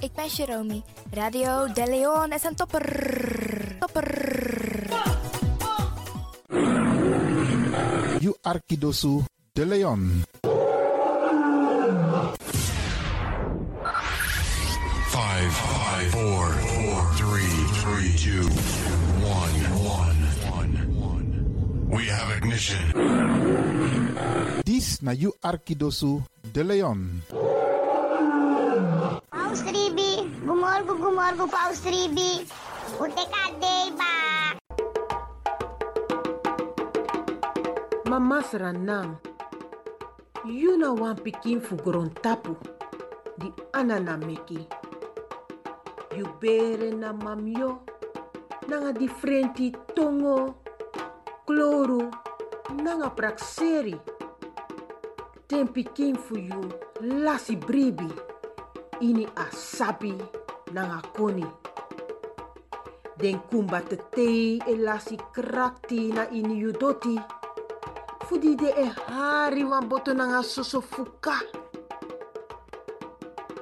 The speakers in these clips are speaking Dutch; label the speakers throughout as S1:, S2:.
S1: ik ben Jerome. Radio De Leon is een topper. Topper.
S2: You Arkidosu de Leon.
S3: Five, five, four, four, three, three, two, one, one, one. We have ignition.
S2: This na You Arkidosu de Leon.
S4: Paus Ribi, gumorgo, gumorgo, Paus Ribi. O Decadeiba.
S5: Mama Sranam, you know one pikin for Grontapu, the anana meki. You bere na mamyo, nanga differenti tongo, kloro, nanga prakseri. Ten pikin for you, lasi bribi, ini asabi, nanga koni. Den kumba te tei e lasi krakti na ini yudoti. Fudi de e hari wan boto nanga soso fuka.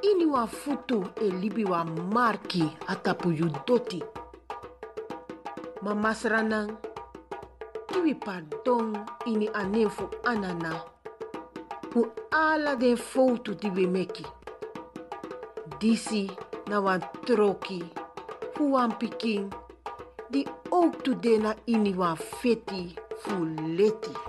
S5: Ini wan futu e libi wan marki atapu yu doti. Ma masranang, kiwi pardon ini ane fu anana. Fu ala den foutu di we meki. Disi na wan troki, fu wan pikin, di ook tu de na ini wan feti fu leti.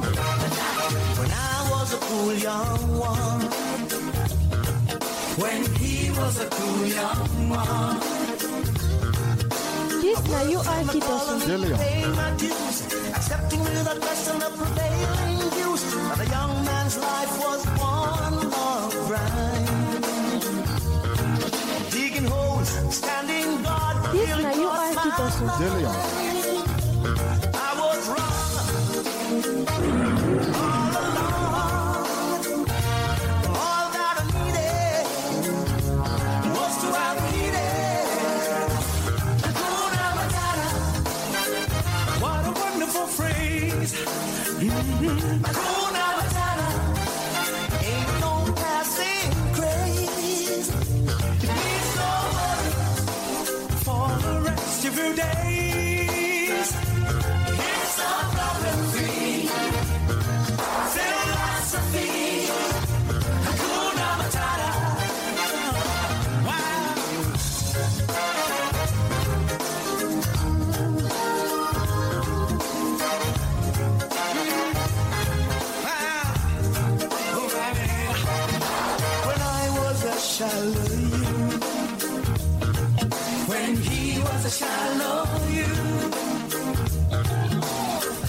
S6: When I was a cool young one. When he was a cool young one.
S7: This na you Arkidosu.
S2: De Leon.
S6: Paying my dues, accepting without question the prevailing views. And a young man's life was one long grind. Digging holes, standing guard.
S7: This
S6: till it
S7: na you
S6: cost my
S7: Arkidosu.
S2: De Leon.
S6: I was wrong. All along, all that I needed was to have needed. Hakuna Matata. What a wonderful phrase. Mhm. Hakuna Matata. Ain't no passing craze. It's over for the rest of your days. It's a problem-free philosophy. Hakuna Matata. Wow. Wow. Oh, baby. When I was a Shallow you. When he was a shallow you.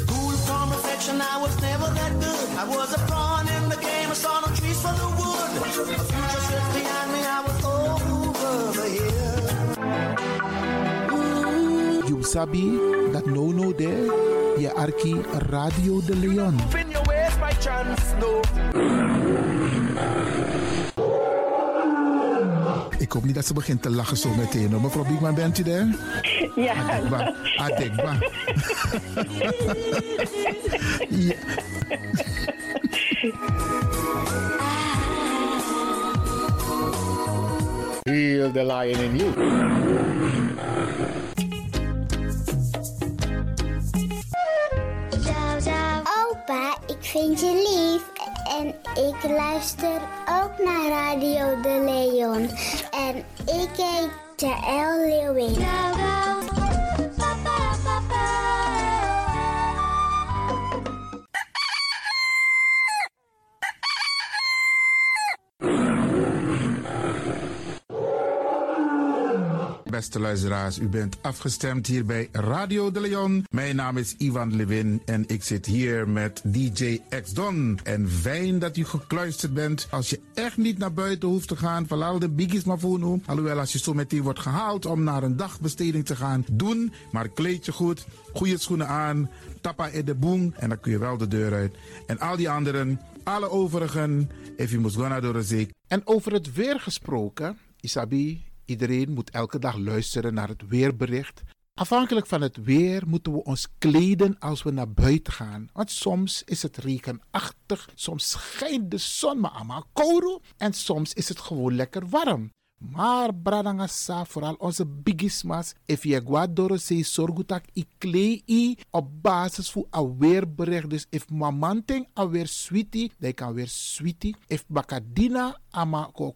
S6: Cool from reflection, I was never that good. I was a pawn in the game, I saw no trees for the wood. A future sits behind me, I was over the hill.
S2: You sabi that no no there. Ya Arki Radio de Leon.
S6: In your ways by chance, no.
S2: Ik hoop niet dat ze begint te lachen zo meteen. hoor. Mevrouw Biekman, bent u daar?
S8: Ja,
S2: Adekba. Adekba. ja.
S9: Heal the lion in you.
S4: Opa, ik vind je lief. En ik luister ook naar Radio De Leon. En ik heet Jaël Leeuwin.
S2: Beste luisteraars, u bent afgestemd hier bij Radio de Leon. Mijn naam is Ivan Levin en ik zit hier met DJ X Don. En fijn dat u gekluisterd bent. Als je echt niet naar buiten hoeft te gaan, verlaal de biggies maar voor nu. Alhoewel, als je zo meteen wordt gehaald om naar een dagbesteding te gaan, doen. Maar kleed je goed, goede schoenen aan, tappa in de boom en dan kun je wel de deur uit. En al die anderen, alle overigen, if you must go naar de zee.
S10: En over het weer gesproken, Isabi, iedereen moet elke dag luisteren naar het weerbericht. Afhankelijk van het weer moeten we ons kleden als we naar buiten gaan. Want soms is het regenachtig, soms schijnt de zon maar allemaal kouro en soms is het gewoon lekker warm. Maar bradangasa, vooral onze bigismas, if je guadoro se sorgutak i klei i op basis van a weerbericht. Dus if mamanting a weer sweetie, dan kan weer sweetie. If bakadina ama ko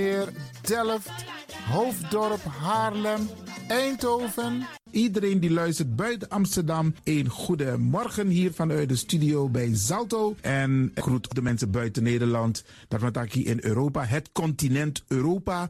S2: Delft, Hoofddorp, Haarlem, Eindhoven. Iedereen die luistert buiten Amsterdam, een goede morgen hier vanuit de studio bij Zalto. En ik groet de mensen buiten Nederland, dat we het hier in Europa, het continent Europa.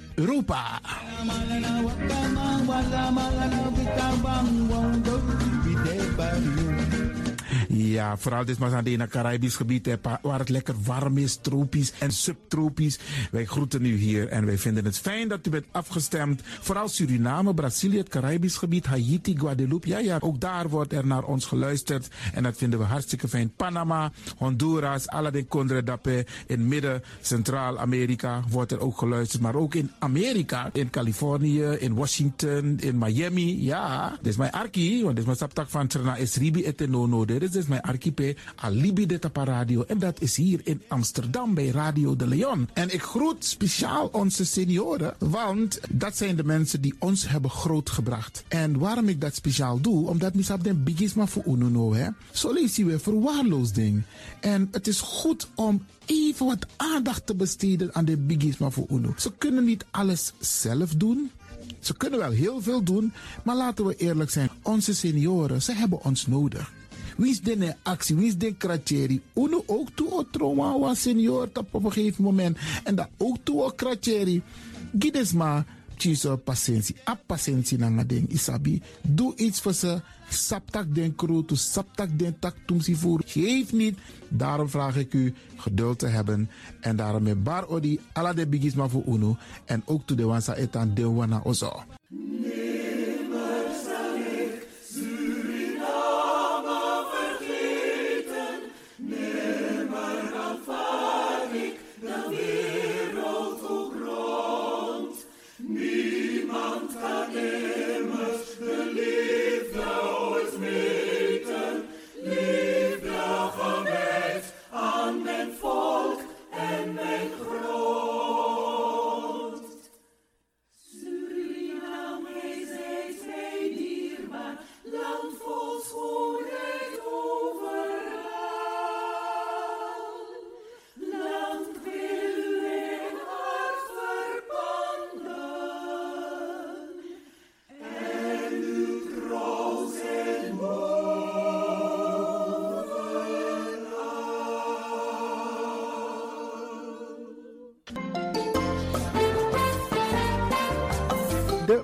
S2: Europa. Ja, vooral dit maar aan het Caribisch gebied, hè, pa- waar het lekker warm is, tropisch en subtropisch. Wij groeten u hier en wij vinden het fijn dat u bent afgestemd. Vooral Suriname, Brazilië, het Caribisch gebied, Haiti, Guadeloupe. Ja, ja, ook daar wordt er naar ons geluisterd en dat vinden we hartstikke fijn. Panama, Honduras, Aladdin Condre Dapé, in midden, Centraal-Amerika wordt er ook geluisterd. Maar ook in Amerika, in Californië, in Washington, in Miami. Ja, dit is mijn arki, want dit is mijn saptak van Trena is Ribi et Nono. Dit is mijn archipel Alibi de Tapa Radio. En dat is hier in Amsterdam bij Radio de Leon. En ik groet speciaal onze senioren, want dat zijn de mensen die ons hebben grootgebracht. En waarom ik dat speciaal doe, omdat misap den bigisma voor Ununo, hè. Zo lezen we verwaarloosding. En het is goed om even wat aandacht te besteden aan de bigisma voor Uno. Ze kunnen niet alles zelf doen. Ze kunnen wel heel veel doen, maar laten we eerlijk zijn. Onze senioren, ze hebben ons nodig. Wie is de actie? Wie is de kratjeri? Uno ook toe o trauma was senior tap op een gegeven moment. En dat ook toe o kratjeri. Gides maar, tjiso patiëntie. A patiëntie nanga ding isabi. Doe iets voor ze. Saptak den kroto, saptak den tak tumsi voor. Geef niet. Daarom vraag ik u geduld te hebben. En daarom met bar odi, ala de bigisma voor uno. En ook toe de wansa etan de wana ozo. De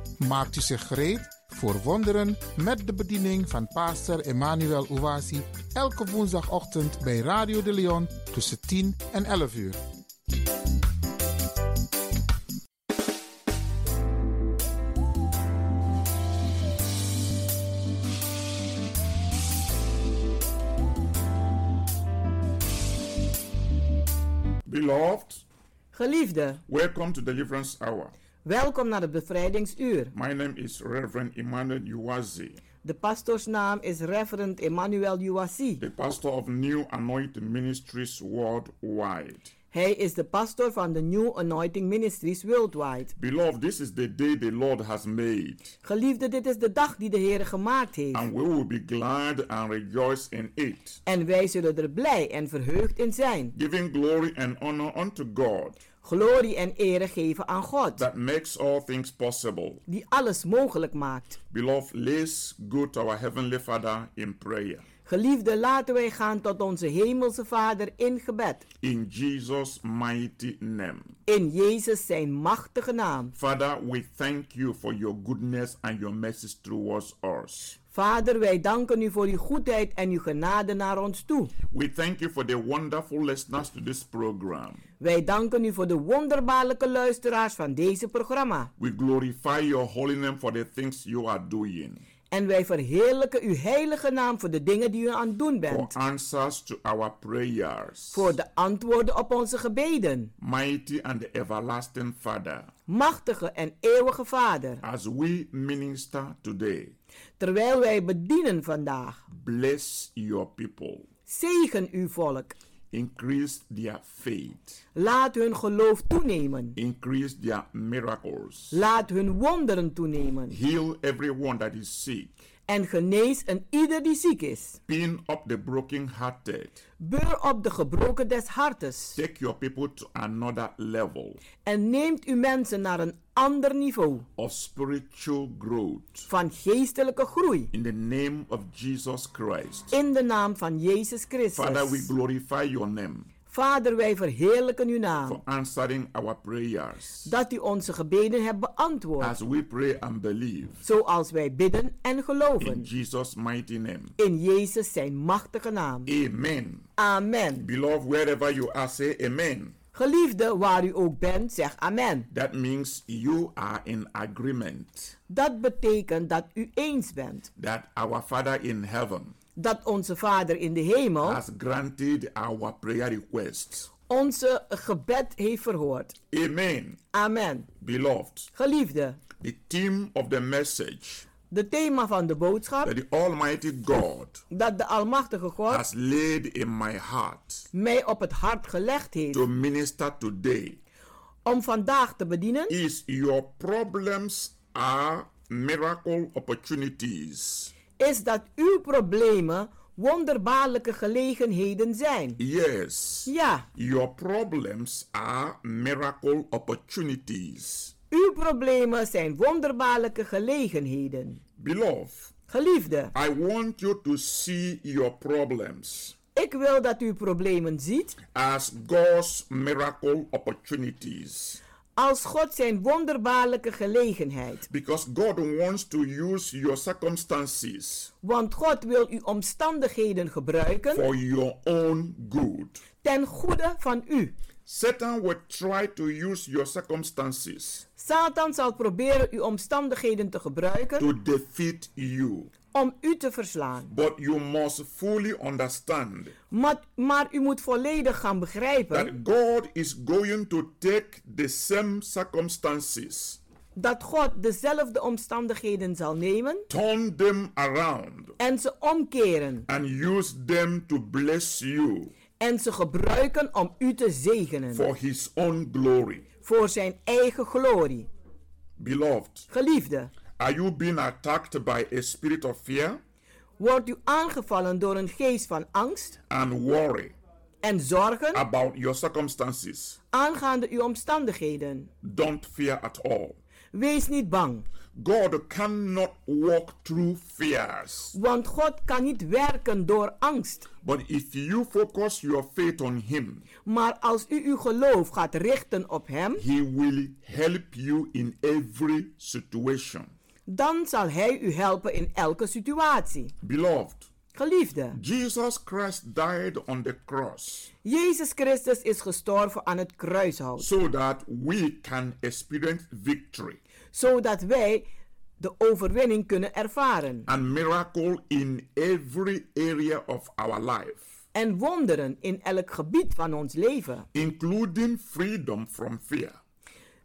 S2: Maakt u zich gereed voor wonderen met de bediening van pastor Emmanuel Owasi elke woensdagochtend bij Radio de Leon tussen 10 en 11 uur.
S11: Beloved,
S5: Geliefde,
S11: welcome to Deliverance Hour.
S5: welkom naar het bevrijdingsuur.
S11: My name is Reverend Emmanuel Uwazi,
S5: De pastoorsnaam is Reverend Emmanuel Uwasi.
S11: the pastor of New Anointing Ministries worldwide.
S5: Hij is de pastoor van de New Anointing Ministries Worldwide.
S11: Beloved, this is the day the Lord has made,
S5: Geliefde, dit is de dag die de Heer gemaakt heeft.
S11: and we will be glad and rejoice in it,
S5: En wij zullen er blij en verheugd in zijn.
S11: giving glory and honor unto God
S5: Glorie en ere geven aan God,
S11: that makes all things possible.
S5: die alles mogelijk maakt.
S11: Beloved, let's go to our Heavenly Father in prayer.
S5: Geliefde, laten wij gaan tot onze Hemelse Vader in gebed.
S11: In Jesus' mighty name.
S5: In Jezus zijn machtige naam.
S11: Father, we thank you for your goodness and your mercies towards us.
S5: Vader, wij danken u voor uw goedheid en uw genade naar ons toe.
S11: We thank you for the wonderful listeners to this program.
S5: Wij danken u voor de wonderbaarlijke luisteraars van deze programma.
S11: We glorify your holy name for the things you are doing,
S5: En wij verheerlijken uw heilige naam voor de dingen die u aan het doen
S11: for
S5: bent.
S11: answers to our prayers.
S5: Voor de antwoorden op onze gebeden.
S11: Mighty and everlasting Father,
S5: Machtige en eeuwige Vader.
S11: as we minister today,
S5: Terwijl wij bedienen vandaag.
S11: bless your people,
S5: Zegen uw volk.
S11: increase their faith,
S5: Laat hun geloof toenemen.
S11: increase their miracles,
S5: Laat hun wonderen toenemen.
S11: heal everyone that is sick,
S5: En genees een ieder die ziek is.
S11: pin up the brokenhearted,
S5: Beur op de gebroken des hartes.
S11: take your people to another level
S5: En neemt uw mensen naar een ander niveau.
S11: of spiritual growth.
S5: Van geestelijke groei.
S11: In the name of Jesus Christ.
S5: In de naam van Jezus Christus.
S11: Father, we glorify your name
S5: Vader, wij verheerlijken uw
S11: for
S5: naam.
S11: answering our prayers
S5: Dat u onze gebeden hebt beantwoord.
S11: as we pray and believe.
S5: Zoals wij bidden en
S11: In
S5: geloven.
S11: Jesus' mighty name.
S5: In Jezus zijn machtige naam.
S11: Amen.
S5: Amen.
S11: Beloved, wherever you are, say amen.
S5: Geliefde, waar u ook bent, zeg amen.
S11: That means you are in agreement
S5: Dat betekent dat u eens bent.
S11: that our Father in heaven
S5: Dat onze Vader in de hemel
S11: has granted our prayer requests.
S5: onze gebed heeft verhoord.
S11: Amen.
S5: Amen.
S11: Beloved,
S5: Geliefde,
S11: the theme of the message
S5: de thema van de boodschap
S11: that the Almighty God
S5: dat de Almachtige God
S11: has laid in my heart
S5: mij op het hart gelegd heeft
S11: to minister today
S5: om vandaag te bedienen
S11: is your problems are miracle opportunities.
S5: is dat uw problemen wonderbaarlijke gelegenheden zijn.
S11: Yes.
S5: Ja,
S11: Your problems are miracle opportunities.
S5: uw problemen zijn wonderbaarlijke gelegenheden.
S11: Beloved,
S5: Geliefde,
S11: I want you to see your problems
S5: ik wil dat u problemen ziet
S11: as God's miracle opportunities
S5: als God zijn wonderbaarlijke gelegenheid.
S11: because God wants to use your circumstances
S5: Want God wil uw omstandigheden gebruiken
S11: for your own good.
S5: ten goede van u.
S11: Satan will try to use your circumstances
S5: Satan zal proberen uw omstandigheden te gebruiken
S11: to defeat you.
S5: om u te verslaan.
S11: But you must fully understand
S5: Maar, maar u moet volledig gaan begrijpen
S11: that God is going to take the same circumstances,
S5: dat God dezelfde omstandigheden zal nemen
S11: turn them around,
S5: en ze omkeren
S11: and use them to bless you
S5: en ze gebruiken om u te zegenen
S11: for His own glory.
S5: voor zijn eigen glorie.
S11: Beloved,
S5: Geliefde,
S11: are you being attacked by a spirit of fear
S5: wordt u aangevallen door een geest van angst
S11: and worry
S5: en zorgen
S11: about your circumstances?
S5: aangaande uw omstandigheden?
S11: Don't fear at all.
S5: Wees niet bang,
S11: God cannot walk through fears.
S5: want God kan niet werken door angst.
S11: But if you focus your faith on Him,
S5: Maar als u uw geloof gaat richten op Hem,
S11: He will help you in every situation.
S5: dan zal Hij u helpen in elke situatie.
S11: Beloved,
S5: Geliefde,
S11: Jesus Christ died on the cross
S5: Jezus Christus is gestorven aan het kruishout,
S11: so that we can experience victory
S5: zodat wij de overwinning kunnen ervaren
S11: and miracle in every area of our life,
S5: en wonderen in elk gebied van ons leven.
S11: including freedom from fear.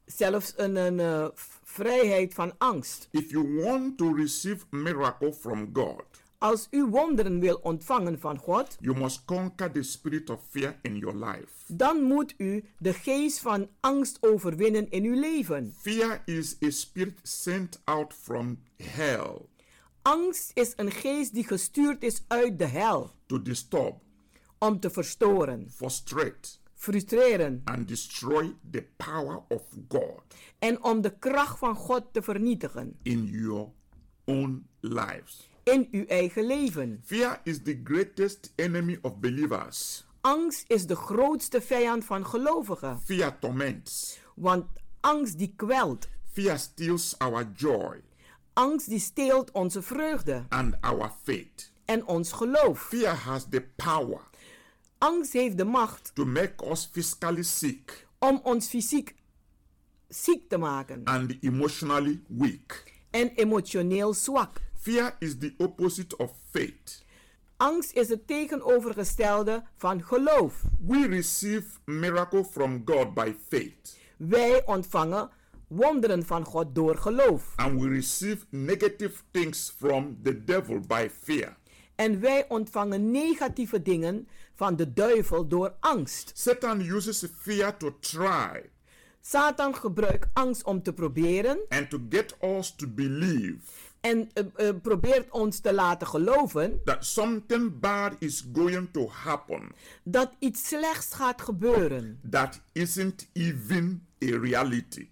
S5: Zelfs een, een, eh, v- vrijheid van angst.
S11: If you want to receive miracle from God,
S5: Als u wonderen wil ontvangen van God,
S11: you must conquer the spirit of fear in your life.
S5: dan moet u de geest van angst overwinnen in uw leven.
S11: Fear is a spirit sent out from hell
S5: Angst is een geest die gestuurd is uit de hel
S11: to disturb,
S5: om te verstoren,
S11: frustrate,
S5: frustreren
S11: and destroy the power of God
S5: en om de kracht van God te vernietigen
S11: in your own lives.
S5: in uw eigen leven.
S11: Fear is the greatest enemy of believers.
S5: Angst is de grootste vijand van gelovigen,
S11: Fear torments.
S5: want angst die kwelt,
S11: Fear steals our joy
S5: angst die steelt onze vreugde
S11: and our faith.
S5: en ons geloof.
S11: Fear has the power
S5: Angst heeft de macht
S11: to make us physically sick
S5: om ons fysiek ziek te maken
S11: and emotionally weak.
S5: en emotioneel zwak.
S11: Fear is the opposite of faith.
S5: Angst is het tegenovergestelde van geloof.
S11: We receive miracle from God by faith,
S5: Wij ontvangen wonderen van God door geloof.
S11: and we receive negative things from the devil by fear.
S5: En wij ontvangen negatieve dingen van de duivel door angst.
S11: Satan uses fear to try
S5: Satan gebruikt angst om te proberen
S11: and to get us to believe
S5: en eh, eh, probeert ons te laten geloven
S11: that something bad is going to happen
S5: dat iets slechts gaat gebeuren.
S11: that isn't even a reality.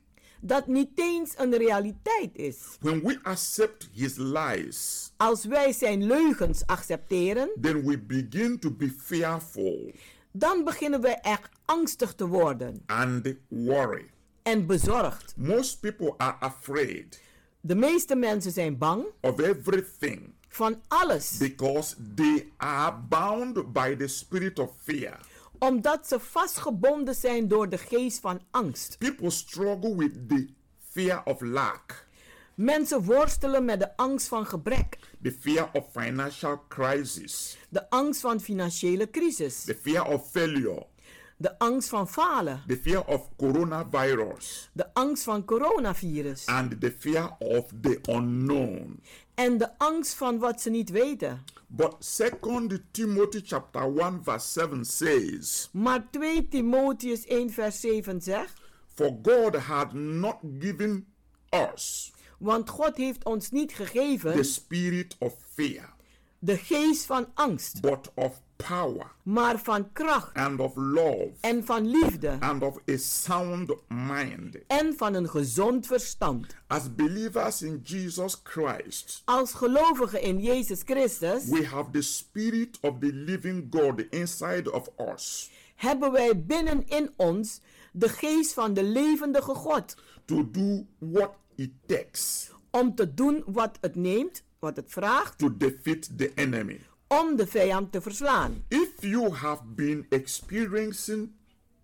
S5: Dat niet eens een realiteit is.
S11: When we accept his lies,
S5: Als wij zijn leugens accepteren,
S11: then we begin to be fearful
S5: dan beginnen wij echt angstig te worden
S11: and worry.
S5: en bezorgd.
S11: Most people are afraid
S5: De meeste mensen zijn bang
S11: of everything
S5: van alles.
S11: because they are bound by the spirit of fear.
S5: omdat ze vastgebonden zijn door de geest van angst.
S11: People struggle with the fear of lack,
S5: Mensen worstelen met de angst van gebrek,
S11: the fear of financial crisis,
S5: de angst van financiële crisis,
S11: the fear of failure,
S5: de angst van falen,
S11: the fear of coronavirus,
S5: de angst van coronavirus
S11: and the fear of the unknown.
S5: en de angst van wat ze niet weten.
S11: But 2 Timothy chapter 1 verse 7 says,
S5: Maar 2 Timotheus 1 vers 7 zegt,
S11: For God hath not given us
S5: want God heeft ons niet
S11: the
S5: gegeven
S11: spirit of fear,
S5: de geest van angst,
S11: but of power
S5: maar van kracht
S11: and of love
S5: en van liefde
S11: and of a sound mind.
S5: en van een gezond verstand.
S11: As believers in Jesus Christ,
S5: Als gelovigen in Jezus Christus
S11: we have the spirit of the living God inside of us
S5: hebben wij binnen in ons de geest van de levendige God
S11: to do what it takes
S5: om te doen wat het neemt, wat het vraagt,
S11: to defeat the enemy.
S5: om de vijand te verslaan.
S11: If you have been experiencing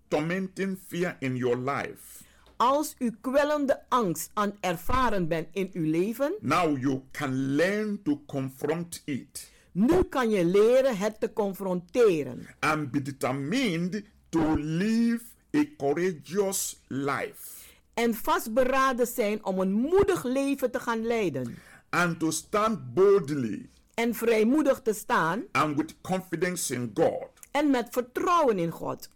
S11: tormenting fear in your life,
S5: Als u kwellende angst aan ervaren bent in uw leven,
S11: Now you can learn to confront it
S5: nu kan je leren het te confronteren
S11: and be determined to live a courageous life
S5: en vastberaden zijn om een moedig leven te gaan leiden
S11: and to stand boldly
S5: en vrijmoedig te staan
S11: and with confidence in God.
S5: en met vertrouwen in God.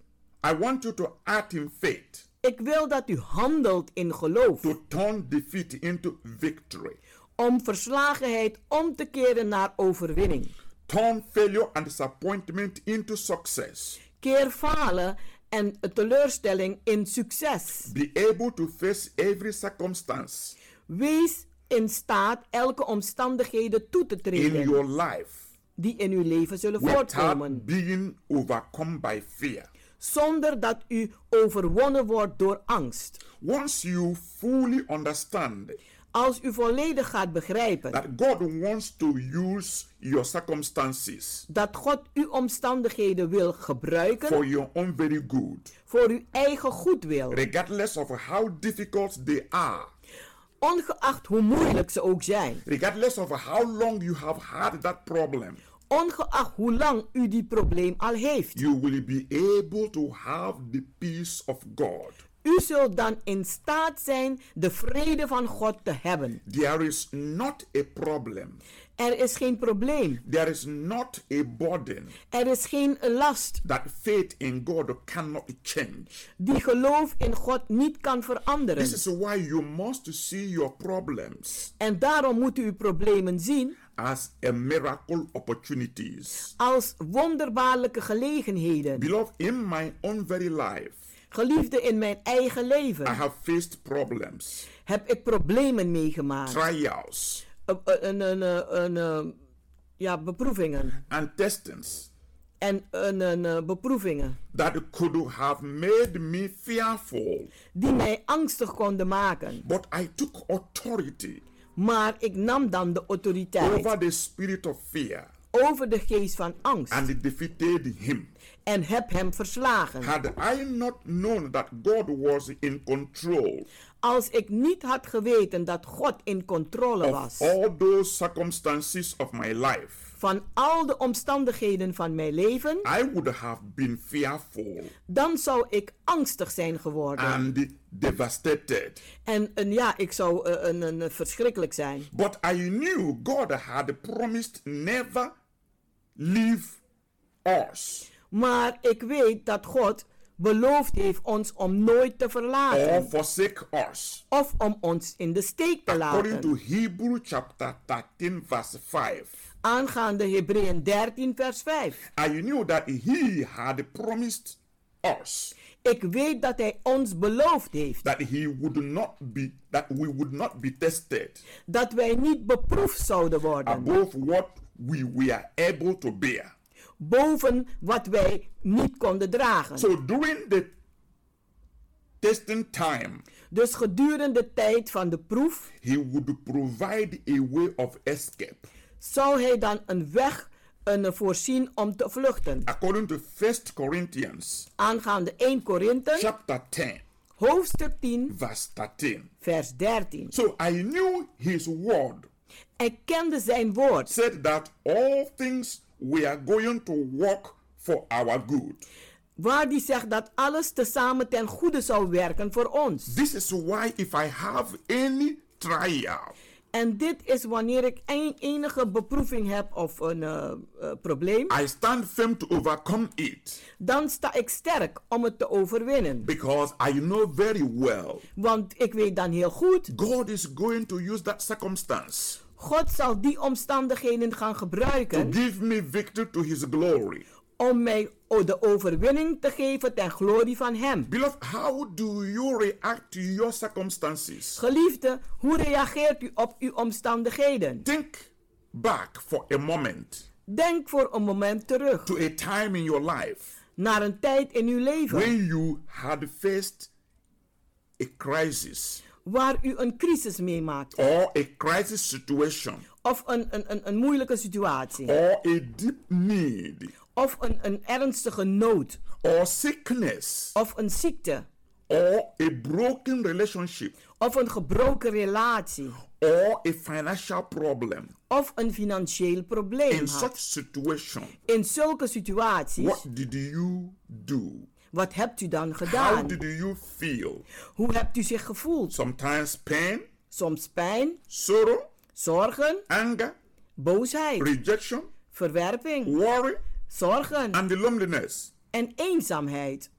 S11: I want you to act in faith
S5: Ik wil dat u handelt in geloof
S11: to turn defeat into victory,
S5: om verslagenheid om te keren naar overwinning.
S11: turn failure and disappointment into success,
S5: Keer falen en teleurstelling in succes.
S11: be able to face every circumstance
S5: Wees in staat elke omstandigheden toe te
S11: in
S5: treden
S11: your life
S5: die in uw leven zullen
S11: without
S5: voortkomen,
S11: being overcome by fear.
S5: zonder dat u overwonnen wordt door angst.
S11: Once you fully understand
S5: Als u volledig gaat begrijpen
S11: that God wants to use your circumstances
S5: dat God uw omstandigheden wil gebruiken
S11: for your own very good,
S5: voor uw eigen goedwil,
S11: regardless of how difficult they are,
S5: ongeacht hoe moeilijk ze ook zijn,
S11: regardless of how long you have had that problem,
S5: ongeacht hoe lang u die probleem al heeft.
S11: you will be able to have the peace of God.
S5: U zult dan in staat zijn de vrede van God te hebben.
S11: There is not a problem,
S5: Er is geen probleem,
S11: there is not a burden
S5: er is geen last
S11: that faith in God cannot change.
S5: die geloof in God niet kan veranderen.
S11: This is why you must see your problems
S5: En daarom moet u uw problemen zien
S11: as a miracle opportunities.
S5: als wonderbaarlijke gelegenheden.
S11: Beloved, in my own very life,
S5: Geliefde, in mijn eigen
S11: I
S5: leven
S11: have faced problems,
S5: heb ik problemen meegemaakt.
S11: trials,
S5: Eh, eh, een, een, eh, een, eh, ja, beproevingen.
S11: and testings
S5: En een, een, eh, beproevingen
S11: that could have made me fearful.
S5: die mij angstig konden maken.
S11: But I took authority
S5: Maar ik nam dan de
S11: over
S5: autoriteit
S11: the spirit of fear
S5: over de geest van angst
S11: and defeated him.
S5: en heb hem verslagen.
S11: Had I not known that God was in control
S5: Als ik niet had geweten dat God in controle
S11: of
S5: was
S11: all those circumstances of my life,
S5: van al de omstandigheden van mijn leven,
S11: I would have been fearful
S5: dan zou ik angstig zijn geworden.
S11: and devastated.
S5: En, en ja, ik zou eh, een, een, verschrikkelijk zijn.
S11: But I knew God had promised never leave us
S5: Maar ik weet dat God beloofd heeft ons om nooit te
S11: or
S5: verlaten.
S11: forsake us.
S5: Of om ons in de steek te
S11: According to
S5: laten.
S11: Hebrew chapter 13, verse 5,
S5: Aangaande Hebreeën 13, vers 5.
S11: I knew that He had promised us
S5: Ik weet dat Hij ons beloofd heeft
S11: that He would not be that we would not be tested
S5: dat wij niet beproefd zouden worden.
S11: above what we were able to bear.
S5: Boven wat wij niet konden dragen.
S11: So during the testing time,
S5: Dus gedurende de tijd van de proef
S11: He would provide a way of escape.
S5: zou Hij dan een weg een, voorzien om te vluchten.
S11: according to 1 Corinthians
S5: Aangaande 1 Korinthe,
S11: chapter 10
S5: hoofdstuk 10,
S11: verse 13.
S5: vers 13.
S11: So I knew his word
S5: Hij kende zijn woord.
S11: said that all things were going to work for our good.
S5: Waar die zegt dat alles tezamen ten goede zou werken voor ons.
S11: This is why if I have any trial,
S5: En dit is wanneer ik een, enige beproeving heb of een eh, eh, probleem.
S11: I stand firm to overcome it
S5: Dan sta ik sterk om het te overwinnen.
S11: because I know very well
S5: Want ik weet dan heel goed.
S11: God is going to use that circumstance
S5: God zal die omstandigheden gaan
S11: to
S5: gebruiken.
S11: give me victory to his glory.
S5: Om mij o- de overwinning te geven ten glorie van hem.
S11: Beloved, how do you react to your circumstances?
S5: Geliefde, hoe reageert u op uw omstandigheden?
S11: Think back for a moment
S5: Denk voor een moment terug.
S11: to a time in your life
S5: Naar een tijd in uw leven.
S11: when you had faced a crisis
S5: waar u een crisis meemaakt.
S11: or a crisis situation
S5: Of een, een, een, een moeilijke situatie.
S11: or a deep need
S5: Of een, een ernstige nood.
S11: or sickness
S5: Of een ziekte.
S11: or a broken relationship
S5: of een gebroken relatie
S11: or a financial problem.
S5: of een financieel probleem
S11: In
S5: had.
S11: such situation,
S5: In zulke situaties,
S11: what did you do?
S5: wat hebt u dan
S11: How
S5: gedaan?
S11: did you feel?
S5: Hoe hebt u zich gevoeld?
S11: Sometimes pain,
S5: Soms pijn,
S11: sorrow,
S5: zorgen,
S11: anger,
S5: boosheid,
S11: rejection,
S5: verwerping,
S11: worry,
S5: zorgen
S11: and the loneliness.
S5: en eenzaamheid.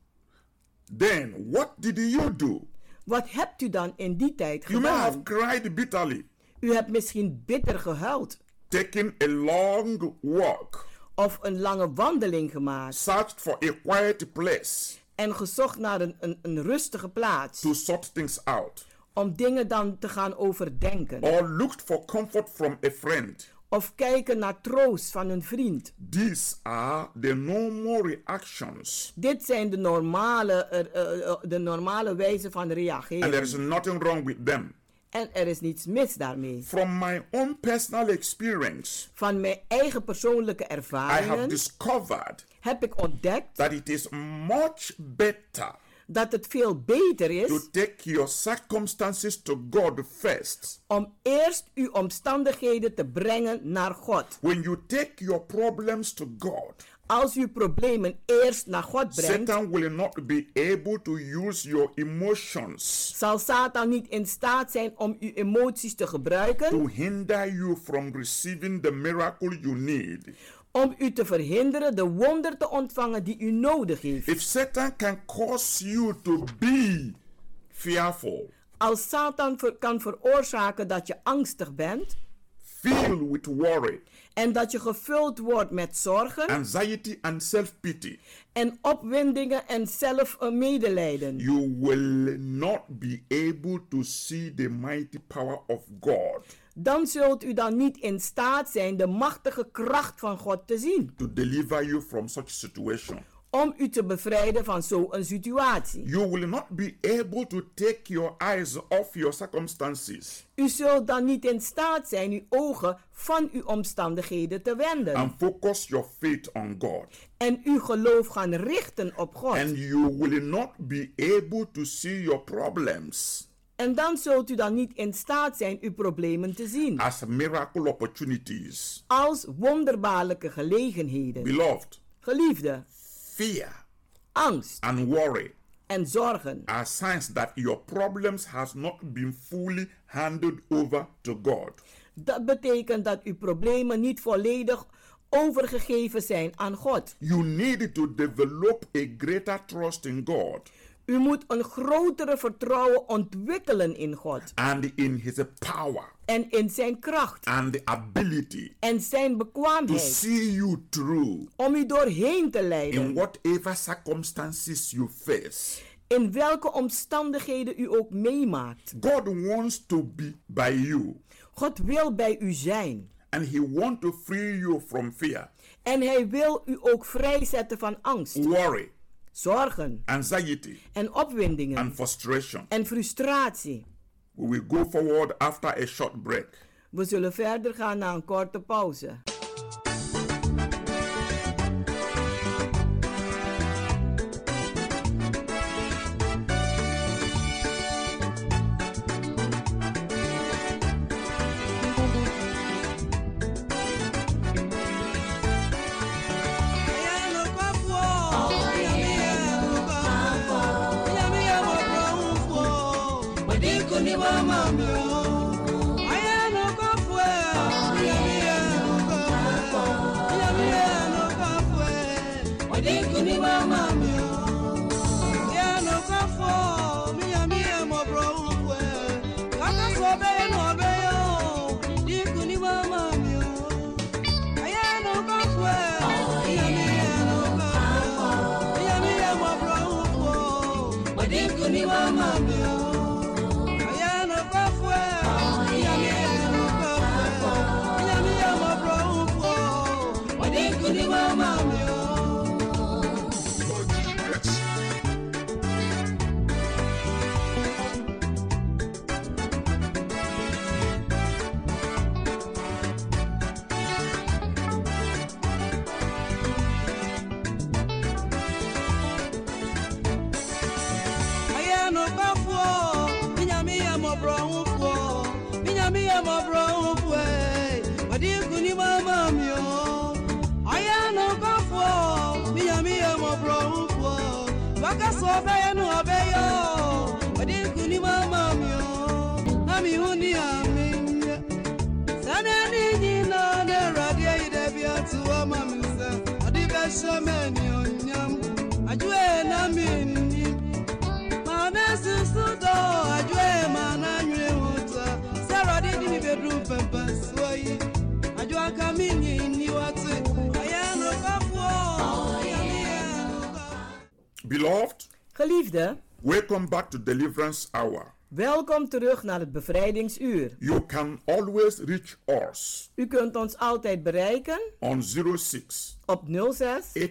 S11: Then what did you do?
S5: Wat hebt u dan in die tijd
S11: You may have
S5: gedaan?
S11: cried bitterly,
S5: U hebt misschien bitter gehuild
S11: taken a long walk,
S5: of een lange wandeling gemaakt
S11: searched for a quiet place
S5: en gezocht naar een, een, een rustige plaats
S11: to sort things out,
S5: om dingen dan te gaan overdenken
S11: or looked for comfort from a friend.
S5: of kijken naar troost van een vriend.
S11: These are the normal reactions,
S5: Dit zijn de normale, eh, eh, eh, de normale wijze van
S11: and there is
S5: reageren.
S11: nothing wrong with them.
S5: En er is niets mis daarmee.
S11: From my own personal experience,
S5: Van mijn eigen persoonlijke
S11: I have
S5: ervaringen
S11: discovered
S5: heb ik ontdekt
S11: that it is much better
S5: dat het veel beter
S11: to
S5: is
S11: take your circumstances to God first.
S5: om eerst uw omstandigheden te brengen naar God.
S11: When you take your problems to God,
S5: Als u problemen eerst naar God brengt,
S11: Satan will not be able to use your emotions
S5: zal Satan niet in staat zijn om uw emoties te
S11: to
S5: gebruiken
S11: hinder you from receiving the miracle you need.
S5: om u te verhinderen de wonder te ontvangen die u nodig heeft.
S11: If Satan can cause you to be fearful,
S5: Als Satan ver- kan veroorzaken dat je angstig bent
S11: filled with worry,
S5: en dat je gevuld wordt met zorgen
S11: anxiety, and self pity,
S5: en opwindingen en zelf eh, medelijden,
S11: you will not be able to see the mighty power of God
S5: dan zult u dan niet in staat zijn de machtige kracht van God te zien
S11: to deliver you from such situation.
S5: om u te bevrijden van zo'n situatie.
S11: You will not be able to take your eyes off your circumstances
S5: U zult dan niet in staat zijn uw ogen van uw omstandigheden te wenden
S11: and focus your faith on God.
S5: en uw geloof gaan richten op God.
S11: And you will not be able to see your problems
S5: En dan zult u dan niet in staat zijn uw problemen te zien
S11: as miracle opportunities.
S5: als wonderbaarlijke gelegenheden.
S11: Beloved,
S5: Geliefde,
S11: fear
S5: angst
S11: and worry
S5: en zorgen
S11: are signs that your problems has not been fully handed over to God.
S5: Dat betekent dat uw problemen niet volledig overgegeven zijn aan God.
S11: You need to develop a greater trust in God
S5: U moet een grotere vertrouwen ontwikkelen in God
S11: and in His power
S5: en in zijn kracht
S11: and the ability
S5: en zijn
S11: to
S5: bekwaamheid
S11: see you through
S5: om u doorheen te
S11: in
S5: leiden.
S11: whatever circumstances you face.
S5: In welke omstandigheden u ook meemaakt.
S11: God wants to be by you
S5: God wil bij u zijn
S11: and He wants to free you from fear,
S5: en hij wil u ook vrijzetten van angst,
S11: worry,
S5: zorgen
S11: anxiety,
S5: en opwindingen
S11: and frustration.
S5: en frustratie.
S11: We will go forward after a short break.
S5: We zullen verder gaan na een korte pauze.
S6: Ayano ne
S11: Beloved,
S5: Geliefde,
S11: welcome back to Deliverance Hour.
S5: welkom terug naar het bevrijdingsuur.
S11: You can always reach us
S5: U kunt ons altijd bereiken
S11: on 06
S5: op 06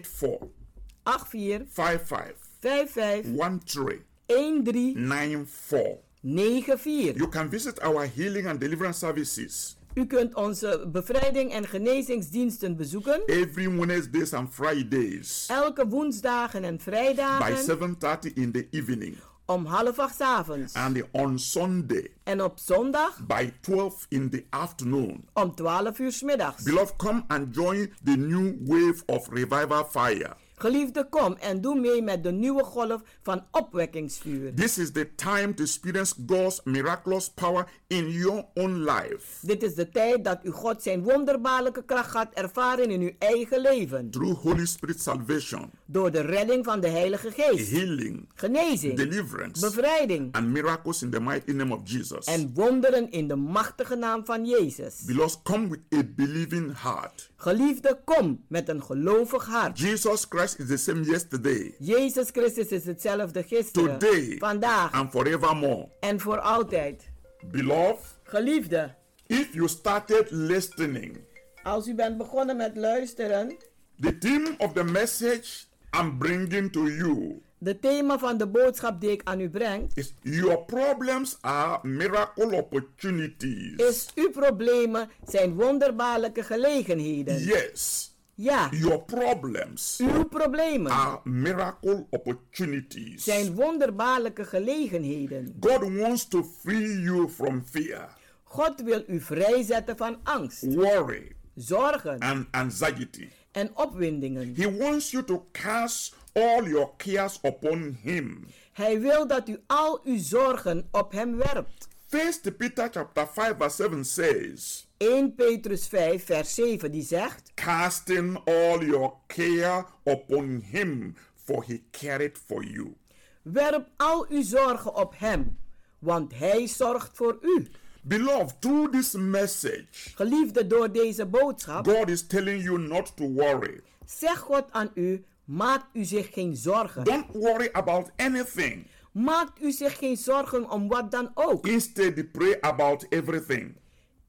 S11: 84
S5: 84
S11: 55
S5: 55 13
S11: 94.
S5: 94.
S11: You can visit our healing and deliverance services
S5: U kunt onze bevrijding en genezingsdiensten bezoeken
S11: every Wednesdays and Fridays
S5: elke woensdagen en
S11: by
S5: vrijdagen
S11: 7:30 in the evening
S5: om half acht 's avonds
S11: and on Sunday
S5: en op zondag
S11: by 12 in the afternoon.
S5: om 12 uur 's middags.
S11: Beloved, come and join the new wave of revival fire.
S5: Geliefde, kom en doe mee met de nieuwe golf van opwekkingsvuur.
S11: This is the time to experience God's miraculous power in your own life
S5: Dit is de tijd dat u God zijn wonderbaarlijke kracht gaat ervaren in uw eigen leven.
S11: through Holy Spirit salvation,
S5: Door de redding van de Heilige Geest,
S11: healing,
S5: genezing,
S11: deliverance,
S5: bevrijding
S11: and miracles in the mighty name of Jesus.
S5: en wonderen in de machtige naam van Jezus.
S11: Beloved, come with a believing heart.
S5: Geliefde, kom met een gelovig hart.
S11: Jesus Christ is the same yesterday,
S5: Jezus Christus is hetzelfde gisteren,
S11: Today.
S5: vandaag
S11: and forevermore.
S5: en voor altijd.
S11: Beloved,
S5: Geliefde,
S11: if you started listening,
S5: als u bent begonnen met luisteren,
S11: the theme of the message I'm bringing to you
S5: de thema van de boodschap die ik aan u breng,
S11: is Your Problems Are Miracle Opportunities.
S5: is uw problemen zijn wonderbaarlijke gelegenheden.
S11: Yes,
S5: Ja,
S11: your problems
S5: uw problemen
S11: are miracle opportunities.
S5: zijn wonderbaarlijke gelegenheden.
S11: God wants to free you from fear,
S5: God wil u vrijzetten van angst,
S11: worry,
S5: zorgen
S11: and anxiety.
S5: en opwindingen.
S11: He wants you to cast all your cares upon Him.
S5: Hij wil dat u al uw zorgen op hem werpt.
S11: First Peter chapter 5 verse 7 says,
S5: 1 Petrus 5, vers 7, die zegt:
S11: Casting all your care upon Him, for He careth for you.
S5: Werp al uw zorgen op hem, want hij zorgt voor u.
S11: Beloved, through this message,
S5: Geliefde, door deze boodschap,
S11: God is telling you not to worry.
S5: zeg God aan u: maak u zich geen zorgen.
S11: Don't worry about anything.
S5: Maak u zich geen zorgen om wat dan ook.
S11: Instead, pray about everything.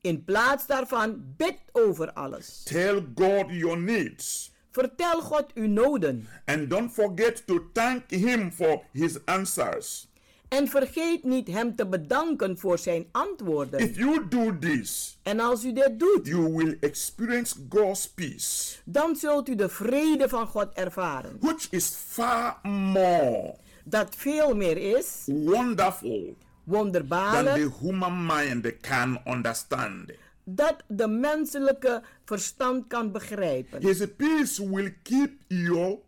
S5: In plaats daarvan bid over alles.
S11: Tell God your needs.
S5: Vertel God uw noden
S11: And don't forget to thank Him for His answers.
S5: en vergeet niet Hem te bedanken voor Zijn antwoorden.
S11: If you do this,
S5: En als u dit doet,
S11: you will experience God's peace,
S5: dan zult u de vrede van God ervaren,
S11: which is far more
S5: dat veel meer is,
S11: wonderful than
S5: wonderbaarlijk,
S11: the human mind can understand.
S5: dat de menselijke verstand kan begrijpen.
S11: His peace will keep you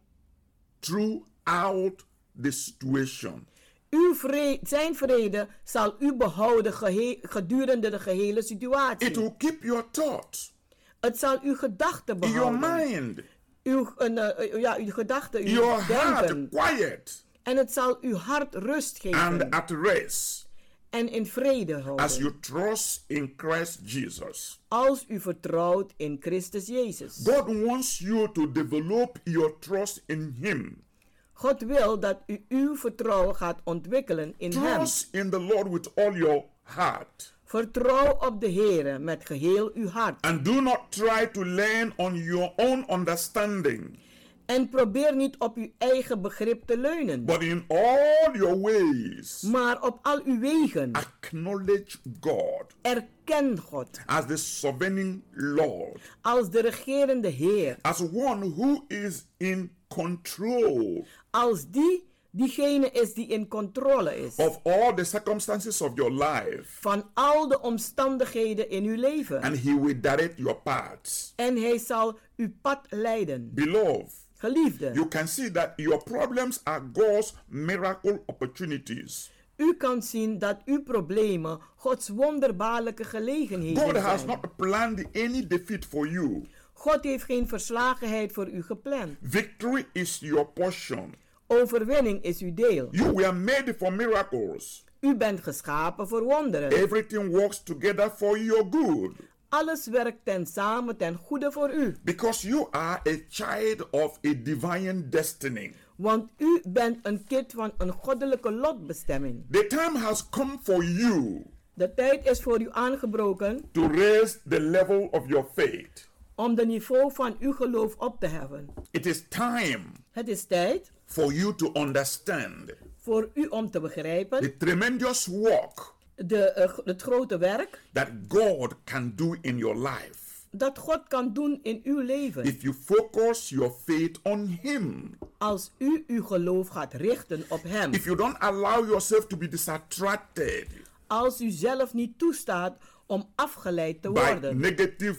S11: throughout the situation.
S5: Uw vre- zijn vrede zal u behouden gehe- gedurende de gehele
S11: It
S5: situatie.
S11: will keep your thoughts
S5: Het zal uw gedachten
S11: in your
S5: behouden.
S11: mind,
S5: Uw, een, eh, ja, uw gedachten, uw
S11: your
S5: denken.
S11: heart quiet
S5: En het zal uw hart rust geven
S11: and at rest
S5: en in vrede houden.
S11: as you trust in Christ Jesus.
S5: Als u vertrouwt in Christus Jezus.
S11: God wants you to develop your trust in Him.
S5: God wil dat u uw vertrouwen gaat ontwikkelen in Hem.
S11: Trust in the Lord with all your heart
S5: Vertrouw op de Heer met geheel uw hart.
S11: and do not try to lean on your own understanding,
S5: En probeer niet op uw eigen begrip te leunen.
S11: but in all your ways
S5: Maar op al uw wegen
S11: acknowledge God
S5: erken God
S11: as the sovereign Lord,
S5: als de regerende Heer.
S11: as one who is in control
S5: Als die diegene is die in controle is.
S11: of all the circumstances of your life,
S5: Van al de omstandigheden in uw leven.
S11: and He will direct your paths.
S5: En hij zal uw pad leiden.
S11: Beloved,
S5: Geliefde,
S11: you can see that your problems are God's miracle opportunities.
S5: u kan zien dat uw problemen Gods wonderbaarlijke
S11: God
S5: gelegenheden
S11: has
S5: zijn.
S11: not planned any defeat for you.
S5: God heeft geen verslagenheid voor u gepland.
S11: Victory is your portion.
S5: Overwinning is uw deel.
S11: You were made for miracles.
S5: U bent geschapen voor wonderen.
S11: Everything works together for your good
S5: Alles werkt ten samen ten goede voor u.
S11: because you are a child of a divine destiny.
S5: Want u bent een kind van een goddelijke lotbestemming.
S11: The time has come for you
S5: De tijd is voor u aangebroken
S11: to raise the level of your faith.
S5: om de niveau van uw geloof op te heffen.
S11: It is time
S5: Het is tijd
S11: for you to understand
S5: voor u om te
S11: the
S5: begrijpen
S11: tremendous work
S5: de, eh, g- het grote werk
S11: that God can do in your life
S5: dat God kan doen in uw leven.
S11: if you focus your faith on Him.
S5: Als u uw geloof gaat richten op Hem.
S11: If you don't allow yourself to be distracted
S5: Als u zelf niet toestaat om afgeleid te
S11: by
S5: worden
S11: negative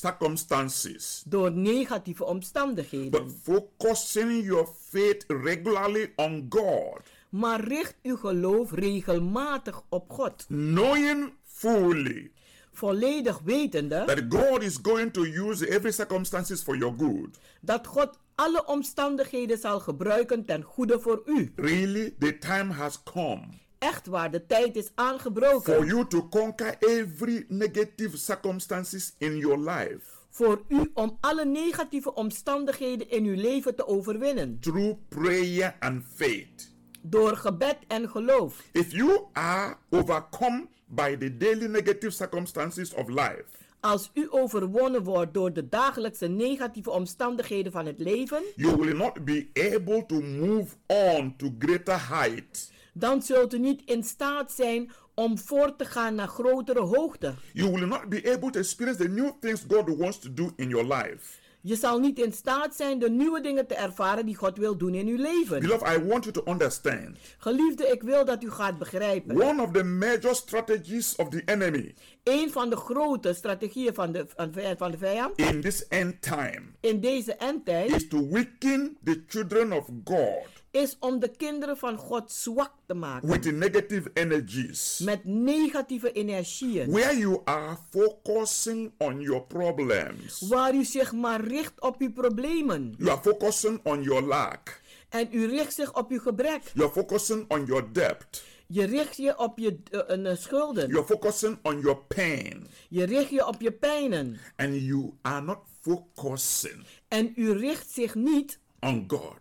S11: circumstances,
S5: door negatieve
S11: but
S5: omstandigheden.
S11: focusing your faith regularly on God,
S5: Maar richt uw geloof regelmatig op God.
S11: knowing fully
S5: Volledig wetende
S11: that God is going to use every circumstances for your good.
S5: dat God alle omstandigheden zal gebruiken ten goede voor u.
S11: Really, the time has come
S5: Echt waar, de tijd is
S11: for
S5: aangebroken
S11: you to conquer every negative circumstances in your life
S5: voor u om alle negatieve omstandigheden in uw leven te overwinnen.
S11: through prayer and faith.
S5: Door gebed en geloof.
S11: If you are overcome by the daily negative circumstances of life,
S5: Als u overwonnen wordt door de dagelijkse negatieve omstandigheden van het leven,
S11: you will not be able to move on to greater heights.
S5: dan zult u niet in staat zijn om voort te gaan naar grotere hoogte.
S11: You will not be able to experience the new things God wants to do in your life.
S5: Je zal niet in staat zijn de nieuwe dingen te ervaren die God wil doen in uw leven.
S11: Beloved, I want you to understand
S5: Geliefde, ik wil dat u gaat begrijpen.
S11: one of the major strategies of the enemy
S5: Een van de grote strategieën van de, van de- van de vijand
S11: in this end time
S5: in deze endtijd
S11: is to weaken the children of God
S5: is om de kinderen van God zwak te maken.
S11: with the negative energies.
S5: Met negatieve energieën.
S11: Where you are focusing on your problems,
S5: Waar u zich maar richt op uw problemen.
S11: you are focusing on your lack,
S5: En u richt zich op uw gebrek.
S11: you are focusing on your debt,
S5: Je richt je op je eh, eh, schulden.
S11: you are focusing on your pain,
S5: Je richt je op je pijnen.
S11: and you are not focusing
S5: En u richt zich niet
S11: on God.